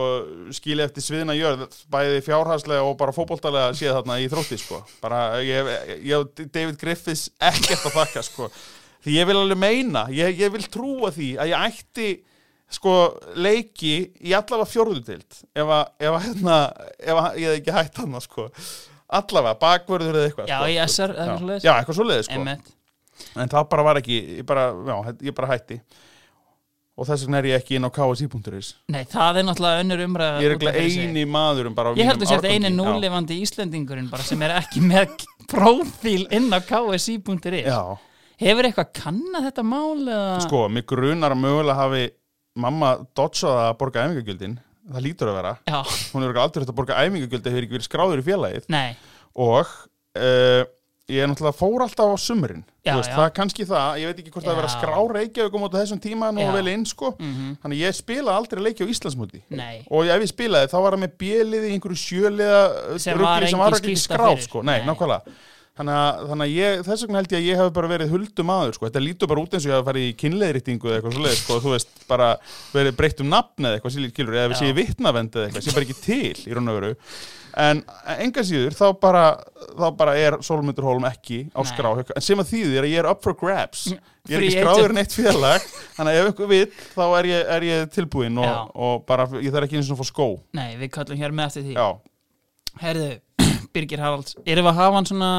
skilið eftir sviðna jörð bæði fjárhagslega og bara fótboltalega séð þarna í þrótti sko. bara ég, ég á David Griffiths ekkert að þakka sko. því ég vil alveg meina, ég, ég vil trúa því að ég ætti sko, leiki í allavega fjórðutild ef, að, ef, að, hérna, ef að, ég hef ekki hætt hann sko. allavega, bakvörður eða eitthvað Já, sko. í SR, eða eitthvað svoleiðis. já, eitthvað svo leiðis sko. Emmett En það bara var ekki, ég bara, já, ég bara hætti Og þess vegna er ég ekki inn á KSI.is Nei, það er náttúrulega önnur umræða Ég er út af ekki fyrir sig. eini maðurum bara á Ég mínum held að þetta árgangi. eini núlifandi Íslendingurinn bara sem er ekki með prófíl inn á Já, ksi.is já. Hefur eitthvað kannað þetta mál eða? sko, mig grunar að mögulega hafi mamma dodsaða að borga æfingagjöldin Það lítur að vera Já, Hún er örugglega aldrei hægt að borga æfingagjöld ef hefur ekki verið skráður í félagið nei, Og uh, ég er náttúrulega fór alltaf á sumrin Já, Þú veist, já. það er kannski það, ég veit ekki hvort það er verið að Já. skrá Reykjavík um á þessum tíma nú Já. vel inn sko Mhm. þannig ég spilaði aldrei leiki á Íslandsmúti Nei. og ef ég spilaði þá var það með bjeliði í einhverju sjöliða uh, Sem rugli var engin sem var ekki skýrsla skráð fyrir. sko, nei, Nei. nákvæmlega þannig að, þannig að ég, þess vegna held ég að ég hef bara verið huldum aður sko, þetta lítur bara út eins og ég hef farið í kynleiðrýtingu eða eitthvað svoleiðis sko, þú veist, bara verið breytt um nafn eða eitthvað sílík kilur, eða Já. sé ég vitnavend eða eitthvað, sé bara ekki til í raun og veru en enga síður, þá bara þá bara er Solmundur Holm ekki á Nei. Mm, skrá, hjá- en sem að þýðir að ég er up for grabs ég er Free ekki agent. skráður í neitt félag þannig að ef ykkur vill, þá er ég, er ég tilbúin og, Já. og bara, ég þarf ekki eins og að fá skó Nei, við kallum hér með eftir því Já, Herðu, Birgir Haralds Erum við að hafa hann svona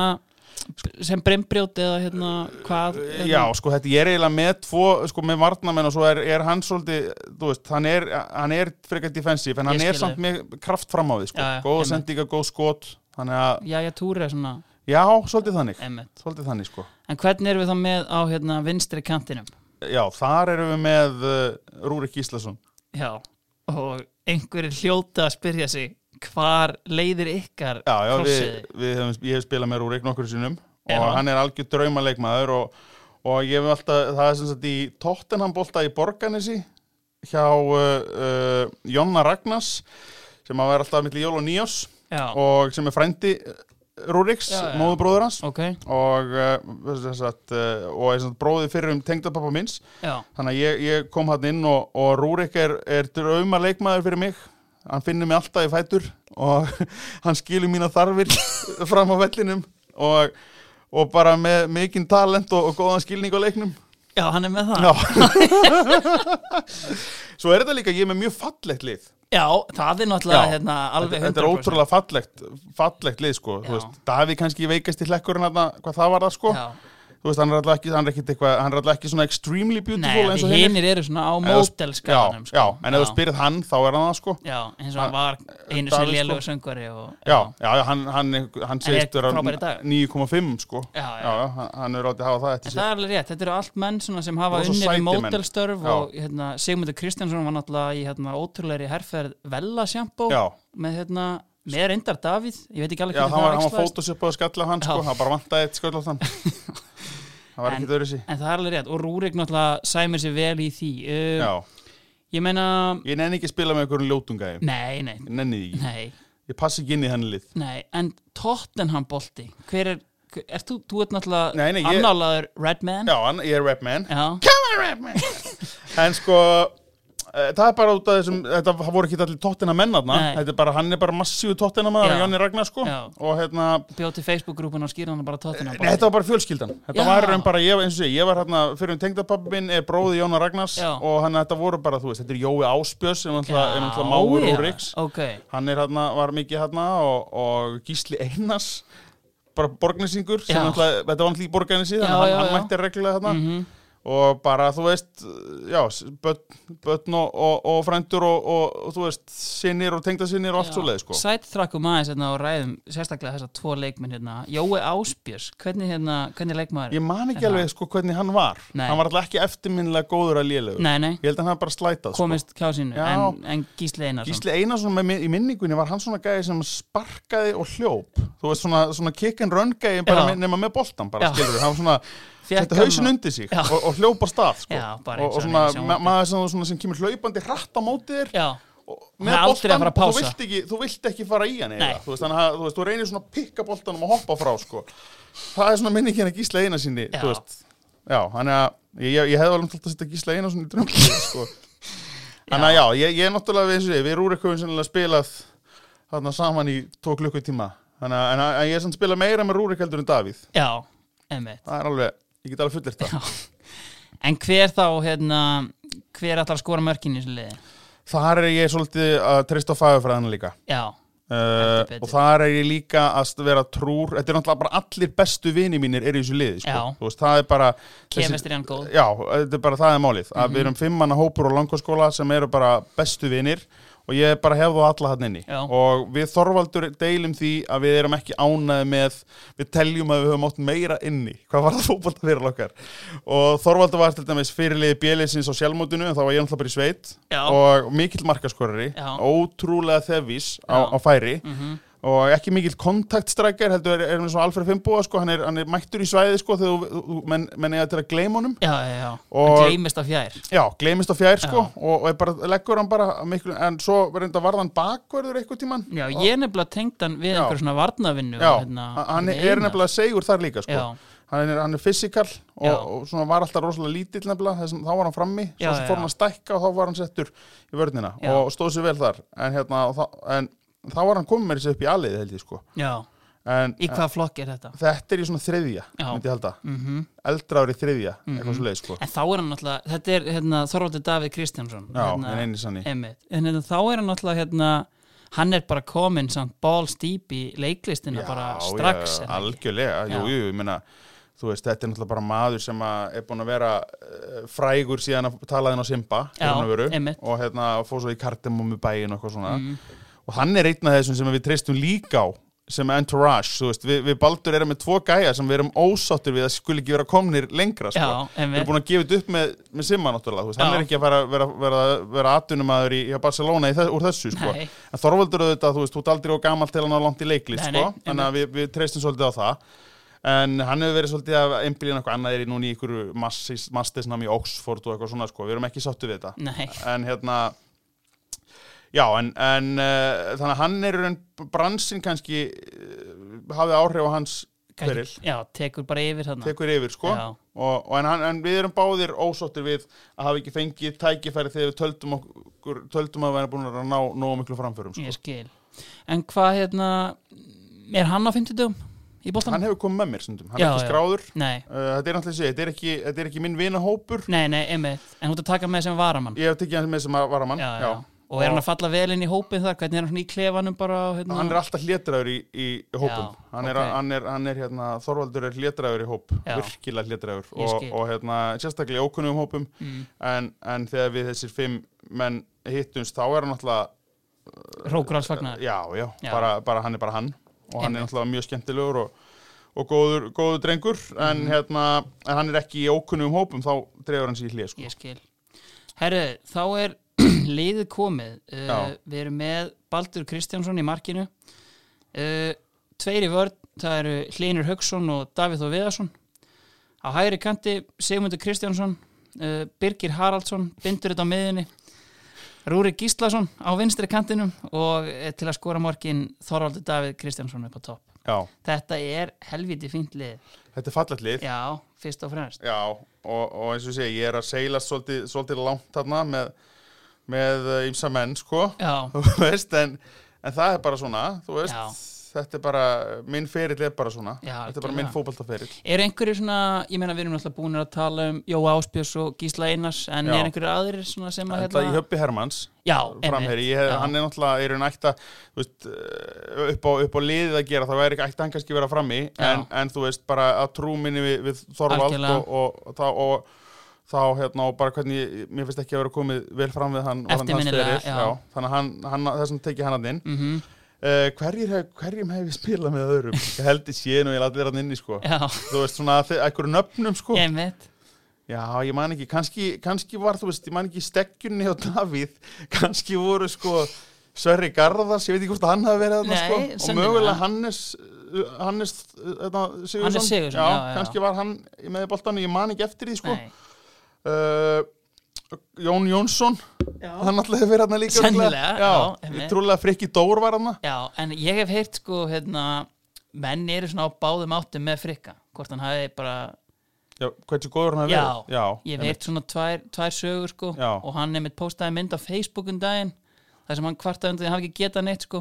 sem brembrjót eða hérna hvað hérna? já, sko þetta ég er eiginlega með tvo, sko með varnamenn og svo er, er hann svolítið, þú veist, hann er, hann er frekar defensiv en hann Ég er skil samt með kraft fram á því, sko, Já, já, góða einmitt. sendinga, góð skot, þannig að, Já, ég túri svona já, svolítið þannig, einmitt. svolítið þannig, sko. En hvernig erum við þá með á hérna vinstri kantinum? Já, þar erum við með uh, Rúrik Íslason. Já, og einhverjir hljóta að spyrja sig hvar leiðir ykkar Já, já, við, krossiði? við hefum, ég hef spilað með Rúrik nokkur sinnum Er og hann? hann er algjör draumaleikmaður og, og ég hef alltaf, það er sem sagt í Tottenham bolta í Borganesi hjá uh, uh, Jonna Ragnars sem að vera alltaf milli Jól og Níos Já, og sem er frændi uh, Rúriks, Já, já. móðubróður hans ok, og, uh, sem sagt, uh, og er sem sagt bróðið fyrir um tengdapappa minns já, Þannig að ég, ég kom hann inn og, og Rúrik er, er drauma leikmaður fyrir mig hann finnur mig alltaf í fætur og hann skilur mína þarfir fram á vellinum og, og bara með mikinn talent og, og góðan skilning á leiknum já, hann er með það Já Svo er þetta líka, ég er með mjög fallegt lið Já, það er náttúrulega Já. hérna alveg 100% Þetta er ótrúlega fallegt, fallegt lið sko, Já. þú veist, Davíð kannski veikast í hlekkurinn þarna, hvað það var það sko Já. þú veist, hann er alltaf ekki, hann er ekki, eitthvað, hann er alltaf ekki svona extremely Nei, beautiful eins því og hinir. hinir eru svona á Ef þú- mótelskalanum já, já, en ef þú spyrir hann þá er hann það sko Já, eins og hann var einu Davíð, sinni sko. lélugur söngvari og Já, já, já hann, hann, hann segist er vera frábær í dag. 9,5 sko Já, já. já, hann- hann er átti að hafa það En eftir það er alveg rétt, þetta eru allt menn svona sem hafa Og svo unnið í sætir menn. mótelstörf Já. og hérna, Sigmundur Kristjánsson var náttúrulega í hérna, ótrúleiri herrferð Vella Sjampó Já, með, hérna, með reyndar Davíð, ég veit ekki alveg já hann, var, hann var æxlaðist. fótosjöpað að skalla hann Já. sko, hann bara vantaði eitt sköll á þann Það var En- ekki þörrisi En það er alveg rétt og Rúrik náttúrulega sæmir sér vel í því uh, Já, Ég meina, ég nenni ekki að spila með einhverjum ljótungæði nei, nei, Ég nenni því ekki, nei, ég passi ekki inn í henni lið nei en Tottenham bolti, hver er, hver, er þú, þú ert náttúrulega Nei, nei, ég- annálaður Redman Já, hann, ég er rapman Já, Come on rapman En sko eh, Það er bara út af þessum, þetta voru ekki allir tóttina mennarna, Nei. þetta er bara, hann er bara massífu tóttina maður, Já. Jónni Ragnar sko Já. og hérna, bjóti Facebook-grúpuna og skýrðan bara Tottenham Nei, Eh, þetta var bara fjölskyldan Þetta Já. var raun bara, ég, eins og ég, ég var hérna fyrir um tengdapappi minn, er bróði Jóna Ragnars Já. og hann þetta voru bara, þú veist, þetta er Jói Áspjörs sem Já, alltaf máur já, úr Riks Ok, Hann er hérna, var mikið hérna og, og Gísli Einars bara borgnesingur sem Já. alltaf, þetta var hann lík borgarnesi Já, þannig að já, hann, hann já. Mhm. mætti reglulega hérna og bara, þú veist, já, börn, börn og, og, og frændur og, og, og þú veist, sinir og tengdasinnir og allt svo leið, sko Sættrakkum aðeins hérna, og ræðum sérstaklega þessa tvo leikminn hérna. Jói Áspjörs, hvernig, hérna, hvernig leikmaður? Ég man ekki Er það? alveg sko hvernig hann var Nei. Hann var alltaf ekki eftirminnilega góður að lélegur Nei, nei, Ég held að hann hafi bara slætað sko. komist hjá sínu, Já. en, en Gísli Einarsson. Gísli Einarsson með, mi- í minningunni var hann svona gæði sem sparkaði og hljóp Þú veist svona, svona kick and run gæði bara Já. með, nema með boltan bara Já. skilur Hann var svona, Fékk þetta hann hausin og- undir sig Já. og, og hljóp á stað sko. Já, bara og, eins og og hann svona, er í ma sjónvarpi. maður sem, svona, sem kemur hlaupandi hratt á móti þér Já, og- Hann er með aldrei að boltan fara að og þú pása. vilt, ekki, þú vilt ekki fara í hann eiginlega. Nei. þú veist, þannig að þú, veist, þú reynir svona að pikka boltanum og hoppa frá sko. það er svona minningin að Gísla Einar sinni Já. þú veist já, hann er að ég, ég, ég hefði alveg alltaf að setja Gísla Einar í drömmlið sko. þannig að já, ég, ég er náttúrulega við, eins og ég, við Rúrik höfum sennilega spilað þarna saman í tó klukkutíma þannig að, en að en ég er samt spilað meira með Rúrik heldur en Davíð já, emmitt. það er alveg, ég get alveg fullir það En hver þá, hérna, hver ætlar að skora mörkin í þessu liði? þar er ég svolítið að treysta á fagurfræðina líka Já, Uh, Heldur betur. og þar er ég líka að st- vera trúr þetta er náttúrulega bara allir bestu vini mínir eru í þessu liði, sko, Já. þú veist, það er bara kemist er hann góð. já, þetta er bara það er málið að Mhm. við erum fimmanna hópur og langarskóla sem eru bara bestu vinir og ég bara hef þú alla hann inni Já. og við Þorvaldur deilum því að við erum ekki ánæði með við teljum að við höfum átt meira inni hvað var það fótbolta fyrir okkar og Þorvaldur var til dæmis fyrirliði bjeliðsins á sjálfmótinu en þá var ég náttúrulega bara í sveit Já. og mikill markaskorari Já. ótrúlega þevís Já. á, á færi Mhm. og ekki mikill kontaktstrækjar heldur er, er með svona Alfred Fimboa sko, hann er, hann er mættur í svæði sko þegar þú- þú, þú- menn, menn eiga til að gleyma honum já, já, já, Og- hann gleymist af fjær já, gleymist á fjær sko Já. og, og er bara, leggur hann bara miklu, en svo reynda varðan bakverður eitthvað tíman Já, ég nefnilega tengd hann við Já. einhver svona varnavinnu já, hérna, hann hérna er eina. nefnilega segur þar líka sko Já. hann er, hann er fysikal og, Já. og svona var alltaf rosalega lítill nefnilega þess, þá var hann frammi, Já, svo já, fór já. hann að stækka og þá var hann settur í vörnina Já. og stóð sér vel þar en, hérna, og þá, en þá var hann komið með þessi upp í alið held ég sko Já, en, í hvaða flokk er þetta? en þetta er í svona þriðja Já. myndi ég halda, Mm eldra ári þriðja eitthvað svo leið sko En þá er hann náttúrulega, þetta er hérna, Þorvaldur Davíð Kristjánsson hérna, Já, en eini sanni einmitt. En hérna, þá er hann náttúrulega hérna, hann er bara kominn samt balls deep í leiklistina bara strax er það já, ekki? algjörlega, jú, Já. jú, ég meina þú veist, þetta er náttúrulega bara maður sem að er búin að vera uh, frægur síðan að talaði hann á Simba í Já, raun og veru, einmitt. Mm. og hérna og fór svo í kardemum í bæin og eitthvað svona og hann er einn af þessum sem við treystum líka á sem entourage, þú veist, við, við Baldur erum með tvo gæja sem við erum ósáttur við að skuli ekki vera komnir lengra, sko Já, við erum einmitt, búin að gefa þetta upp með, með Simba náttúrulega, þú veist, hann Já. er ekki að fara, vera, vera, vera atvinnumæður í, í Barcelona í þess, úr þessu, sko nei, En Þorvaldur auðvitað, þú veist, þú ert aldrei og gamalt til hann á langt í leiklist, Nei, sko, nei, þannig að við, við treystum svolítið á það. En hann hefur verið svolítið að einbílina eitthvað annað er í núna í ykkur mastisnam í Oxford og eitthvað svona, sko, við erum ekki sáttu við þetta. nei, En hérna, já, en, en uh, þannig að hann er en bransin kannski uh, hafið áhrif á hans kannski- Ferill. já, tekur bara yfir þarna tekur yfir, sko. Já. Og, og en, hann, en við erum báðir ósáttir við að hafa ekki fengið tækifæri þegar við töldum, okkur, töldum að vera búin að ná nógu miklu framförum, sko. Ég skil En hvað hérna, er hann á 50 dögum í Hann boltanum? hefur komið með mér stundum, hann Já, er ekki já. skráður Nei, Uh, þetta er náttúrulega sér, þetta er ekki, þetta er ekki minn vinahópur nei, nei, einmitt En hún er að taka með sem varamann Ég hef tekið hann með sem að varamann já, já. Og er hann að falla vel inn í hópin þar? Hvernig er hann svona í klefanum bara? og Hérna? Hann er alltaf hlétraður í, í hópum Já, hann, er, ok. hann, er, hann er hérna, Þorvaldur er hlétraður í hóp Já. Virkilega hlétraður Ég og, skil. og hérna, sérstaklega í ókunnum hópum mm, en, en þegar við þessir fimm menn hittumst þá er hann alltaf Rókur alls fagnar Já, já, Já. Bara, bara hann er bara hann og hann Einmitt. er alltaf mjög skemmtilegur og, og góður, góður drengur en, Mhm. hérna, en hann er ekki í ókunnum hópum þá dregur hann sér í hlé sko. Ég skil Herru, þá er liðið komið uh, Já. Við erum með Baldur Kristjánsson í markinu uh, Tveir í vörn Það eru Hlinur Hauksson og Davíð Þó Viðarsson Á hægri kanti Sigmundur Kristjánsson uh, Birgir Haraldsson Bindur þetta á miðinni Rúrik Gíslason á vinstri kantinum og eh, til að skora morgin Þorvaldur Davíð Kristjánsson upp á topp Já, Þetta er helviti fínt lið þetta er fallet lið Já, fyrst og fremst Já, og, og eins og ég segi, ég er að seilast svolítið, svolítið langt þarna með, með uh, ymsa menn, sko, Já, þú veist, en, en það er bara svona, þú veist, þetta er bara, minn ferill er bara svona, Já, þetta er bara algjörlega. minn fótbaltaferill. er einhverju svona Ég meina við erum alltaf búin að tala um Jóa Áspjörs og Gísla Einars En Já. er einhverju aðrir svona sem að hérna- Þetta í höppi Hermanns, Já, framherri, ég, já. hann er náttúrulega, er hann ætti að, þú veist, uh, upp á, upp á liðið að gera, þá væri ekki ætti hann kannski að vera frammi, Já. en, en þú veist, bara að trú minni við, við Þorvald Algjörlega. og, og, og, og, og þá hérna og bara hvernig, mér finnst ekki að vera komið vel fram við hann varðandi hans Eftirminnilega, feril. já. þannig að hann, hann þessum tekið hann hann inn mm uh, hverjir hef, hverjum hef ég spilað með öðrum ég held ég sé nú, ég láti vera hann inni sko já þú veist svona að einhverju nöfnum sko einmitt já, ég man ekki, kannski, kannski var þú veist, ég man ekki stekjunni á Davíð kannski voru sko Sverri Garðars, ég veit ekki hvort að hann hafi verið þarna Nei, sko, og sennilega. mögulega Hannes uh, Hannes uh, þetta, Sigurðsson, Hannes Sigurðsson, já, já, já, já. kannski var hann með boltanu, ég man ekki eftir því sko Nei. uh, Jón Jónsson já. hann alltaf hefur verið hann líka Sennilega, já, örugglega. já, einmitt. ég trúlega Frikki Dór var hann en ég hef heyrt sko hérna, Menn eru svona á báðum áttum með frikka Hvort hann hafi bara Já, hversu góður hann hefur Já, verið? Já, Ég hef einmitt. heyrt svona tvær, tvær sögur sko Já. Og hann einmitt postaði mynd á Facebook um daginn þar sem hann kvartaði undan því að hann hafi ekki getað neitt sko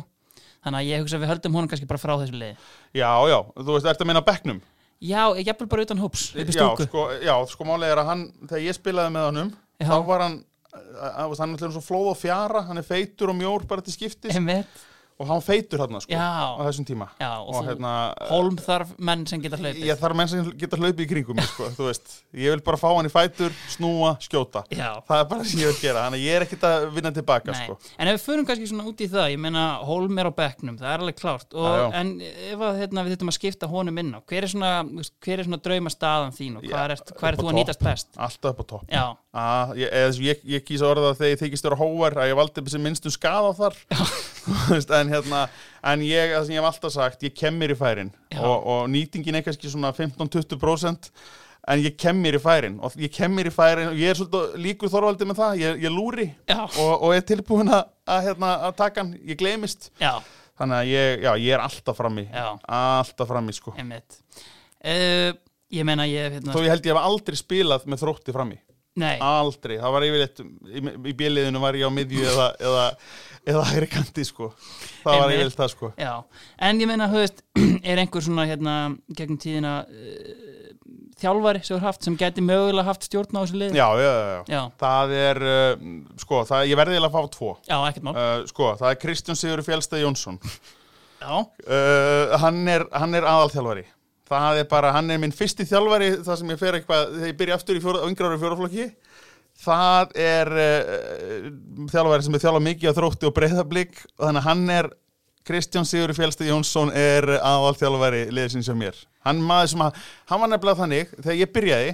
Þannig að ég hugsa að við höldum honum kannski bara frá þessu liði Já, já, þú veist, ertu að meina bekknum? Já, ég jafnvel bara utan hóps upp í já, stúku sko, já, sko málega er að hann, þegar ég spilaði með honum, Já. þá var hann, að, að, hann er svo flóð og fjara, hann er feitur og mjór bara til skiptis Einmitt. og hann var feitur hann, sko, Já. á þessum tíma. Já, og, og þú, hérna, Hólm þarf menn sem geta hlaupið ég þarf menn sem geta hlaupið í kringum, mig, sko, þú veist, ég vil bara fá hann í fætur, snúa, skjóta. Já, Það er bara það sem ég vil gera, þannig að ég er ekkert að vinna tilbaka, nei sko. En ef við förum kannski svona út í það, ég meina Hólm er á bekknum, það er alveg klárt og, Já, já. En ef að, hérna, við þurfum að skipta honum inn á Hver er svona, þú veist, hver er svona drauma staðan þín og hvað Já, ert, hvað ert þú að upp á topp. nýtast best? Alltaf upp á topp. Já, Ah, ég, eða, þess- ég, ég kýsa orða það þegar ég þykist vera hóvar að ég valdi upp sem minnstum skaða þar Þú veist, en hérna en ég, það sem ég hef alltaf sagt, ég kem mér í færin Já. og, og nýtingin er kannski svona 15-20% en ég kem mér í færin og ég kem mér í færin og ég er svolítið líkur þorvaldi með það, ég, ég lúri Já. og, og er tilbúin að, að, hérna, að taka hann, ég gleymist Já, þannig að ég, já, ég er alltaf frammi Já. alltaf frammi sko einmitt uh, Ég meina ég hef hérna þó ég held ég hef aldrei spilað með þrótti frammi Ah, Nei, aldrei, það var yfirleitt í, í bjöliðinu var ég á miðju eða, eða, eða hægri kanti sko það var Einmitt. yfirleitt það sko já En ég meina, höfðist, er einhver svona hérna gegnum tíðina uh, þjálfari sem er haft sem gæti mögulega haft stjórn á þessu liði já, já, já, já. já, það er, uh, sko, það, ég verði eiginlega að fá tvo já, ekkert mál Uh, sko, það er Kristján Sigur Fjálstæð Jónsson Já, uh, hann, er, hann er aðalþjálfari það er bara, hann er minn fyrsti þjálfari það sem ég fer eitthvað, þegar ég byrja aftur í fjóra, á yngra ára í fjóraflokki það er uh, þjálfari sem er þjálfað mikið á þrótti og breyðablík þannig að hann er Kristján Sigur Fjálstæð Jónsson er aðalþjálfari liðsins hjá mér hann, maður sem að, hann var nefnilega þannig þegar ég byrjaði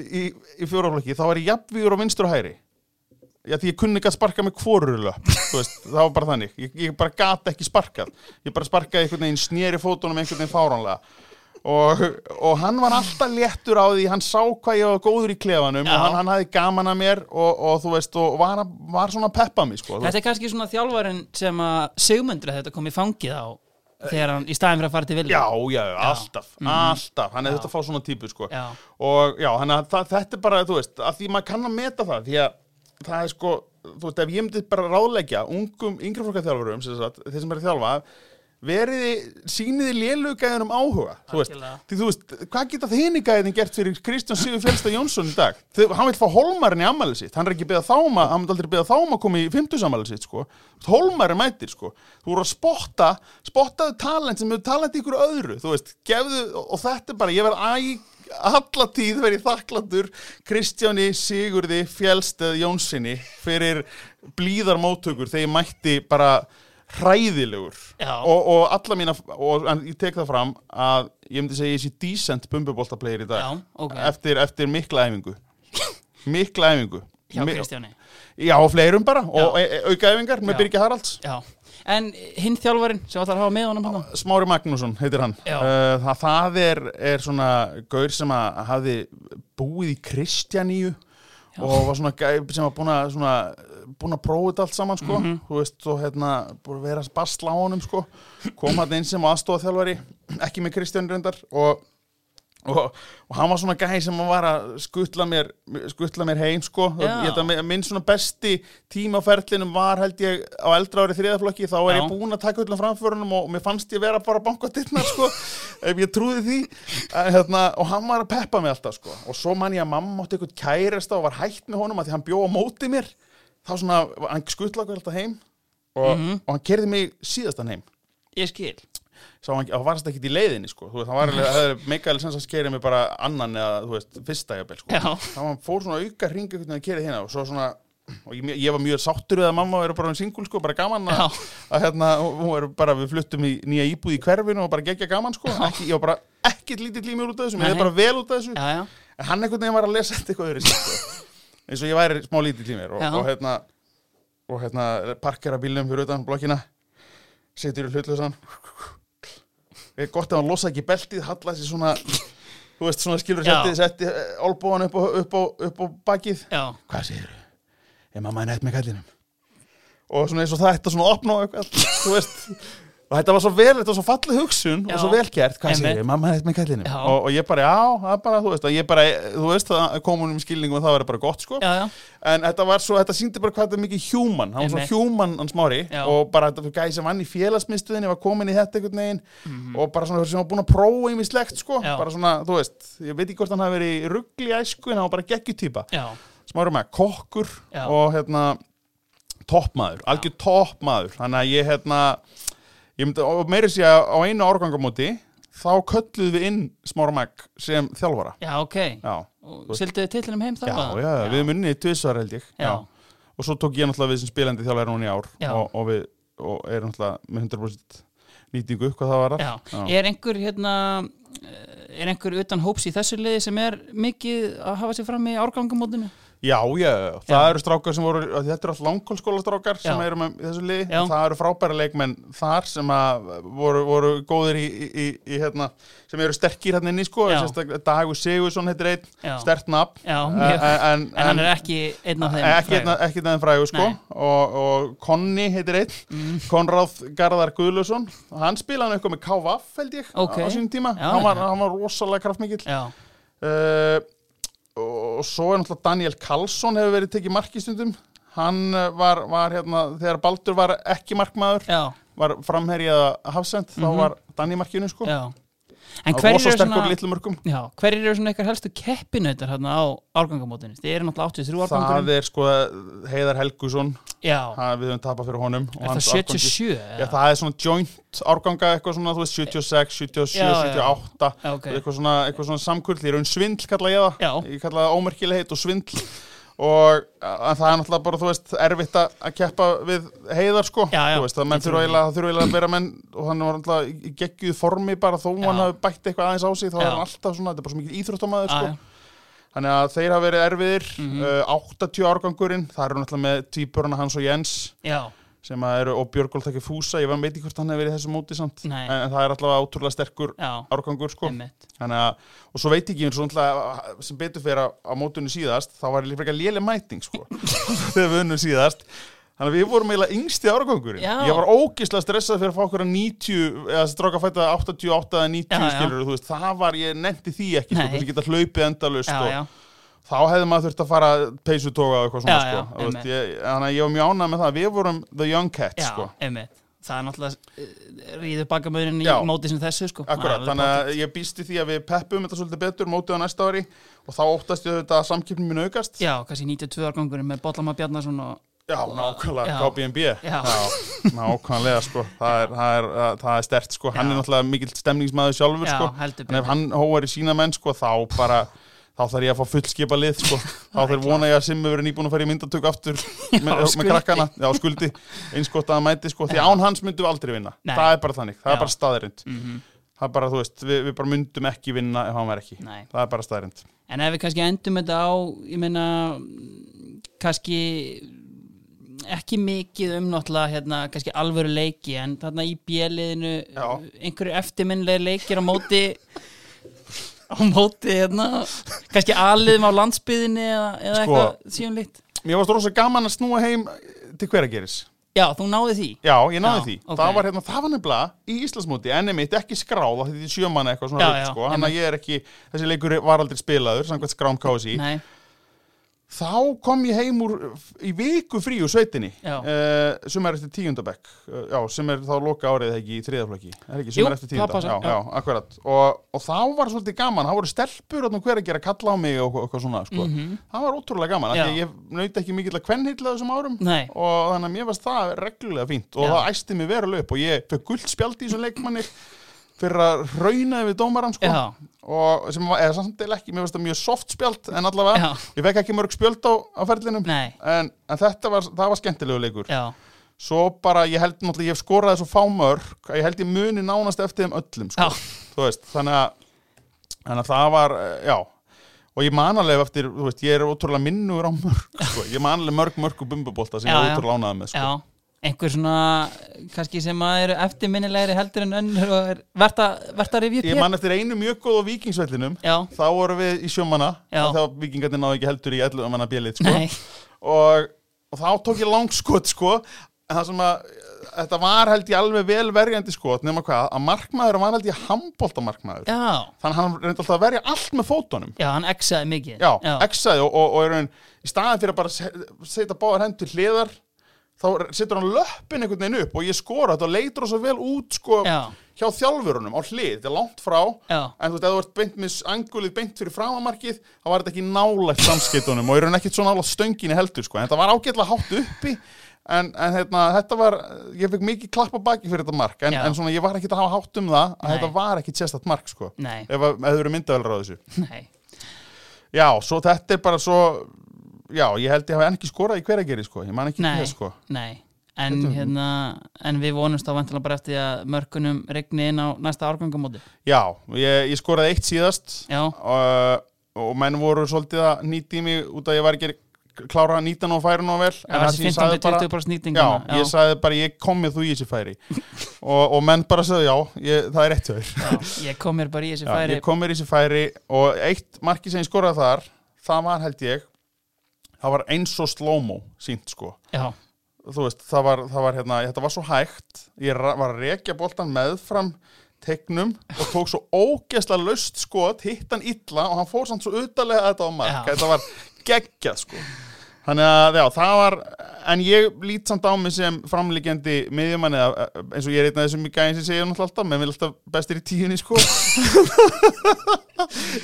í, í fjóraflokki þá var ég jafnvígur á vinstur og hæri Já, því ég kunni ekki að sparka með kvorurlöp, þú veist, það var bara þannig. Ég, ég bara gata ekki sparkað. Ég bara sparkaði einhvern veginn snýri fótunum einhvern veginn fáránlega. Og, og hann var alltaf léttur á því, hann sá hvað ég var góður í klefanum Já. og hann, hann hafði gaman að mér og, og þú veist, og var, var svona að peppa mig, sko. þetta er kannski svona þjálfarin sem að Sigmundur þetta kom í fangið á þegar hann, í staðin fyrir að fara til vilja Já, já, alltaf, alltaf, hann er þetta að fá svona típu, sko. Mhm. Já. Og já, hann, þetta er bara, þú veist, að því maður kann að meta það, því að það er sko, þú veist, ef ég myndi bara ráðleggja ungum yngri fólkaþjálfurum, sem sagt, þeir sem er að þjálfa, veriði, síniði lélugæðunum áhuga, þú veist, Algjörlega. því þú veist, hvað geta þínigæðin gert fyrir Kristján Sigur Fjölsta Jónsson í dag? Þau, hann vil fá Holmarin í ammæli sitt, hann er ekki beða þáma, hann vil aldrei beða þáma að koma í fimmtusammæli sitt, sko. Holmarin mætir, sko. Þú eru að spotta, spottaðu talent sem hefur talent í ykkur öðru, þú veist, gefðu, og þetta er bara, ég verð æ, alla tíð verið þakklandur Kristjáni Sigurði Fjölstað Jónssoni fyrir blíðar móttökur þegar ég mætti bara hræðilegur Já. og, og alla mína og en ég tek það fram að ég myndi segja ég sé decent bumbuboltaplegir í dag Já, ok. eftir, eftir mikla æfingu mikla æfingu hjá Mi- Kristjáni já, og fleirum bara og e e auka æfingar Já. með Birgi Haralds Já, en hinn þjálfarin sem ætlar að hafa með honum hérna? hann Smári Magnússon heitir hann Já. uh, það, það er, er svona gaur sem að hafði búið í Kristjaníu og var svona gæ, sem var búin að svona, búin að prófa þetta allt saman sko Mhm. þú veist og hérna búin að vera að basla á honum sko kom hann inn sem aðstofþjálfari ekki með Kristján reyndar og og, og hann var svona gæði sem var að skutla mér, skutla mér heim sko. Já. ég held að mi- minn svona besti tíma á ferlinum var held ég á eldra ári þriðaflokki, þá er Já. ég búinn að taka öllum framförunum og mér fannst ég vera bara bankotitnar sko, ef ég trúði því En, hérna, og hann var að peppa mig alltaf sko. og svo man ég að mamma átti eitthvað kærasta og var hægt með honum að því hann bjó á móti mér þá svona, hann skutla okkur alltaf heim og, og hann kerði mig síðastan heim Ég skil sá hann, hann varst ekki í leiðinni sko. þú veist, hann var alveg, það er meikaðileg sens að skeri mig bara annan eða, þú veist, fyrsta jafnvel sko. Já. þá hann fór svona auka hringa einhvern veginn að kerið hérna og svo svona og ég, ég var mjög sáttur við að mamma er bara um singul sko, bara gaman Já. að, að hérna, hún er bara, við fluttum í nýja íbúð í hverfinu og bara gegja gaman sko ekki, ég var bara ekkert lítið límur út af þessu mér Nei. er bara vel út af þessu Já, já, en hann einhvern veginn var að lesa þetta eitthvað öðru sko. eins og ég væri smá lítill í mér og, Já. og hérna og hérna parkera bílnum fyrir utan blokkina setur í hlutlausan er gott að hann losa ekki beltið halla sér svona þú veist svona skilur Já. setti, setti eh, olbóan upp á, upp, á, upp á bakið já hvað segir þú? Ég mamma er nætt með kallinum og svona eins og það ætti að svona opna og eitthvað, þú veist og þetta var svo vel, þetta var svo fallið hugsun Já. og svo velkjert, hvað Einmitt. segir þú? Mamma er nætt með kallinum Já. og, og ég bara, já, það er bara, þú veist og ég bara, þú veist, það kom hún um skilningum og það var bara gott, sko Já, já, en þetta var svo, þetta síndi bara hvað þetta er mikið human hann var svona Einmitt. human hans mári Já. og bara þetta gæði sem vann í félagsmiðstöðinni var komin í þetta einhvern veginn og bara svona sem var búin að prófa ýmislegt sko, Mhm. Já. bara svona, þú veist, ég veit ekki hvort hann hafi verið í ruggli í æsku en hann var bara geggjutýpa já smárum með kokkur Já. og hérna toppmaður, algjör toppmaður þannig að ég hérna ég myndi, og meiri sé að á einu árgangamóti þá kölluðum við inn smárum með sem þjálfara Já, ok já, Og Silduðu titlinum heim þá? já, bara? já, við erum unnið tvisvar held ég Já. og svo tók ég náttúrulega við sem spilandi þjálfara núna í ár Já. og, og við og er náttúrulega með 100% nýtingu hvað það var Já, er einhver hérna eh, er einhver utan hóps í þessu liði sem er mikið að hafa sér fram í árgangamótinu? Já, já, já, það Já. eru strákar sem voru, af því þetta eru alltaf langkólskóla strákar sem Já. eru með í þessu liði, Já. það eru frábæra leikmenn þar sem að voru, voru góðir í, í, í, í hérna, sem eru sterkir hérna inni, sko, Já. sérstaklega Dagur Sigursson heitir einn, Já. stert nafn, Já, en, mjög. Eh, en, eh, en hann er ekki einn af þeim ekki frægu. einn af- ekki einn af þeim frægu, sko, Nei. Mm. og, og Konni heitir einn, Konráð Garðar Guðlusson, hann spilaði hann eitthvað með KVF, held ég, Ok. á sínum tíma, Já, hann, var, já. hann var rosalega kraftmikill Já, uh, og svo er náttúrulega Daniel Karlsson hefur verið tekið mark í stundum hann eh, var, var hérna þegar Baldur var ekki markmaður já, var framherjað hafsend Mhm. þá var Dani í markinu sko já En Hann var hverjir rosa eru sterkur svona litlum mörkum Já, hverjir eru svona ykkar helstu keppinautar hérna á árgangamótinu? Þið eru náttúrulega 83 það árgangurinn er sko Heiðar Helgusson Já, hann, við höfum tapað fyrir honum er og það hans árgangi. 77? Já, það er svona joint árganga eitthvað svona, þú veist, 76, 77, Já, já. 78 Já, ok eitthvað svona, eitthvað svona samkurl, ég raun svindl kalla ég það, Já. ég kalla það ómerkilegheit og svindl og að, það er náttúrulega bara, þú veist, erfitt að að keppa við heiðar sko, Já, já. þú veist, það Ég menn trúi þurfa eiginlega, það þurfa eiginlega að vera menn og hann var náttúrulega í- í geggjuð formi bara þó Já. hann hafi bætt eitthvað aðeins á sig þá Já. er hann alltaf svona, þetta er bara svo mikil íþróttamæður Já, sko, já. þannig að þeir hafa verið erfiðir Mhm. uh, 80 árgangurinn, það eru náttúrulega með týpurna hans og Jens Já, sem að eru, og Björgólf takkir fúsa, ég veit ekki hvort hann hefur verið í þessu móti samt, Nei. en, en það er alltaf ótrúlega sterkur já, árgangur sko einmitt Þannig að, og svo veit ég ekki eins og náttúrulega sem betur fyrir á, á mótunni síðast þá var líka frekar léleg mæting sko þegar við unnum síðast Þannig að við vorum eiginlega yngst í áragangurinn Já. Ég var ógislega stressað fyrir að fá okkur að 90 eða þessi stráka fætta 88 eða 90 Já, já, já. skilur þú veist, það var, ég nefndi því ekki sko, Nei. þessi geta hlaupið endalaust Já, og já, þá hefði maður þurft að fara peysutoga og eitthvað svona Já, já, sko Þú veist, einmitt. ég, Þannig að ég var mjög ánægð með það, við vorum the young cats já, sko einmitt Það er náttúrulega eh, ríður bakamöðurinn í Já. móti sem þessu sko Akkurat, Það er alveg þannig að ég býst í því að við peppum þetta svolítið betur mótið á næsta ári og þá óttast ég auðvitað að samkeppnin mun aukast. pottet. Já, kannski 92 árgangurinn með Bollama Bjarnason og Já, nákvæmlega, Já. KBMB. Já. nákvæmlega, sko, það er, það er, það er stert, sko, hann Já. er náttúrulega mikill stemningsmaður sjálfur, Já, sko, heldur en betur. ef hann hóar í sína menn, sko, þá bara, þá þarf ég að fá fullskipa lið, sko, þá þarf vona ég að Simmi verið nýbúin að fara í myndatök aftur með, skuldi. með krakkana, já, skuldi, eins gott að hann mæti, sko, því án hans myndum við aldrei vinna, Nei. það er bara þannig, það Já. er bara staðarind, Mhm. það er bara, þú veist, við, við bara myndum ekki vinna ef hann var ekki. Nei. Það er bara staðrind. En ef við kannski endum þetta á, ég meina, mm, kannski ekki mikið um náttúrulega, hérna, kannski alvöru leiki, en þarna í bjeliðinu, Já. einhverju eftirminnlega leikir á móti, á móti, hérna, kannski aliðum á landsbyðinni eða, eða Sko. eitthvað síðan líkt. Mér varst rosa gaman að snúa heim til hverageris. Já, þú náði því. Já, ég náði Já, því. ok. Það var hérna, það var nefnilega í Íslandsmóti, en emitt ekki skráð, af því því sjömanna eitthvað svona Já, rugl, já, sko. Þannig að ég er ekki, þessi leikur var aldrei spilaður, samkvæmt skrám KSI. Nei, Þá kom ég heim úr, í viku frí úr sveitinni, Já. uh, sem er eftir tíundabekk, uh, já, sem er þá loka árið eða ekki í þriðaflöki, er ekki, sem Jú, er eftir það tíunda, passar, já, já. já, akkurat. Og, og þá var svolítið gaman, þá voru stelpur og hver að gera kalla á mig og eitthvað svona, sko. Það var ótrúlega gaman, af því Mhm. Já. að ég naut ekki mikill að kvennhylla þessum árum nei, og þannig að mér varst það reglulega fínt Já. og það æsti mig verulega upp og ég fekk guld spjald í þessum leikmanni fyrir að rauna yfir dómaran sko já, og sem var, eða samt eða ekki, mér varst það mjög soft spjald en allavega, já, ég fekk ekki mörg spjöld á, á ferlinum nei, en, en þetta var, það var skemmtilegu leikur já, svo bara, ég held náttúrulega, ég hef skoraði svo fámörk að ég held ég muni nánast eftir þeim öllum já, sko, þú veist, þannig að þannig að það var, eh, já og ég man alveg eftir, þú veist, ég er ótrúlega minnur á mörg, sko, ég man alveg mörg mörg og bumbubólta sem Já, ég er já. ótrúlega ánæða með, sko já. Einhver svona, kannski sem að eru eftirminnilegri heldur en önnur og er verðt að, verðt að rifja upp Ég hér? man eftir einu mjög góð á vikingsvellinum Já, Þá vorum við í sjómanna Já. Þá vikingarnir náðu ekki heldur í 11 manna bjelið sko. nei, og, og þá tók ég langskot sko. En það sem að Þetta var held ég alveg vel verjandi skot nema hvað, að markmaður var held ég handbóltamarkmaður já Þannig að hann reyndi alltaf að verja allt með fótunum Já, hann exaði mikið Já, exaði og, og, og er raun Í staðan fyrir að bara se- setja báðar hendur hliðar Þá setur hann löppin einhvern veginn upp Og ég skora þetta og leitur svo vel út sko, já, Hjá þjálfurunum á hlið, þetta er langt frá já, En þú veist, ef þú ert beint með angulið beint fyrir framamarkið, þá var þetta ekki nálægt samskiptunum og ég raun ekkert svo nálægt stönginni heldur, sko. En þetta var ágætlega hátt uppi, en, en hérna, þetta var, ég fekk mikið klappa baki fyrir þetta mark, en, Já. en svona, ég var ekkert að hafa hátt um það, að Nei. þetta var ekkert sérstætt mark, sko. nei, Ef, að- ef þau eru myndavelur á þessu. nei Já, svo þetta er bara svo, já, ég held ég hafa enn ekki skorað í hverageri, sko. Ég man ekki Nei. til þess, sko. Nei, en hérna en við vonumst þá vantilega bara eftir því að mörkunum regni inn á næsta árgangamóti Já, ég, ég skoraði eitt síðast Já, uh, og menn voru svolítið að nýti mig út að ég var ekki klára 19 og færi nú vel en það það var sem ég þessi sagði bara- 15-20% nýting Já, ég sagði bara ég kom með þú í þessi færi og, og menn bara sagði já, ég, það er rétt hjá þér Já, ég kom mér bara í þessi Já, færi Ég kom með í þessi færi og eitt marki sem ég skoraði þar það var held ég það var eins og slow-mo sínt sko já, þú veist, það var, það var hérna, þetta var svo hægt ég ra- var að rekja boltan meðfram tegnum og tók svo ógeðslega laust skot, hitt hann illa og hann fór samt svo utalega þetta á mark Já. þetta var geggjað sko þannig að já, það var en ég lít samt á mig sem framlíkjandi miðjumann eða eh, eins og ég er einn af þessum í gæðin sem segja náttúrulega alltaf, menn vil alltaf bestir í tíunni sko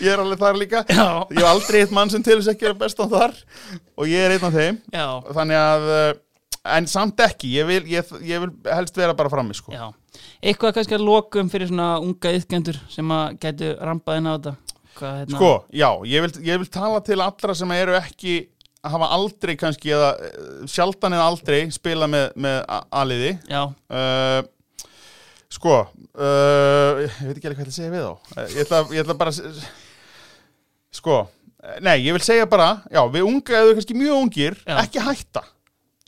ég er alveg þar líka já, ég hef aldrei eitt mann sem til þess ekki er bestan þar og ég er einn af þeim já, þannig að uh, en samt ekki, ég vil, ég, ég vil helst vera bara frammi sko. já. Eitthvað kannski að lokum fyrir svona unga yðkendur sem að gætu rampað inn á þetta Hvað, hérna? sko, já, ég vil, ég vil tala til allra sem eru ekki hafa aldrei kannski eða eh, sjaldan eða aldrei spila með, með a- aliði Já, uh, sko uh, ég veit ekki alveg hvað ég ætla að segja við þá Eh, ég ætla, ég ætla bara að s- sko, eh, nei, ég vil segja bara já, við unga eða kannski mjög ungir Já. ekki hætta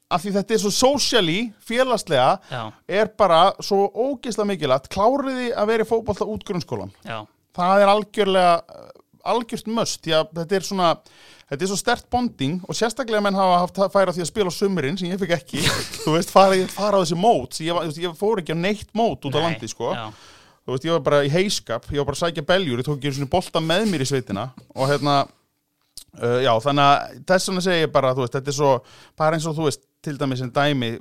af því þetta er svo socially, félagslega já, er bara svo ógeðslega mikilvægt kláriði að vera í fótbolta út grunnskólan já, það er algjörlega eh, algjört möst því að þetta er svona þetta er svo stert bonding og sérstaklega menn hafa haft að færa því að spila á sumurinn sem ég fikk ekki þú veist, fara, ég- fara á þessi mót sem ég, var- þú veist, ég fór ekki á neitt mót út á Nei, landi sko. já, þú veist, ég var bara í heiskap ég var bara að sækja beljur, ég tók ekki einu sinni bolta með mér í sveitina og hérna uh, já, þannig að þess vegna segi ég bara þú veist, þetta er svo, bara eins og þú veist til dæmis sem dæmi,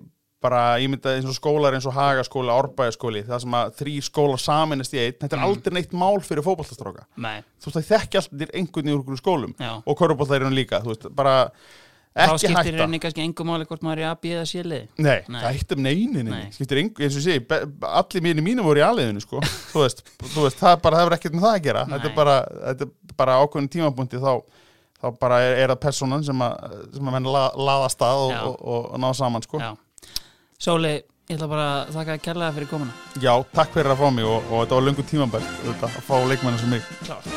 bara ég mynda eins og skólar eins og hagaskóli, árbæjaskóli það sem að þrý skólar saminist í einn Mm. þetta er aldrei neitt mál fyrir fótballtastráka nei, þú veist, það þekki alltaf til einhvern í úr skólum já og körubóltaðirinn líka, þú veist, bara Þá ekki skiptir hætta rauninni kannski engum máli hvort maður er í AB eða sílið Nei, Nei. það hittum neinin Nei. skiptir engu, eins og sé, allir mínir mínum voru í aðliðinu, sko, þú veist, þú veist það er bara, það er ekkert með það að gera, þetta Nei. er bara þetta er bara ákveðin tímabúndi þá þá bara er, er það personan sem að sem að menn la, laða stað og, Já. og, og, ná saman, sko. Já. Já Sóli, ég ætla bara að þakka þér kærlega fyrir komuna takk fyrir að fá mig og, og þetta var löngu tímabært, þetta, að fá leikmanni sem mig. Klárt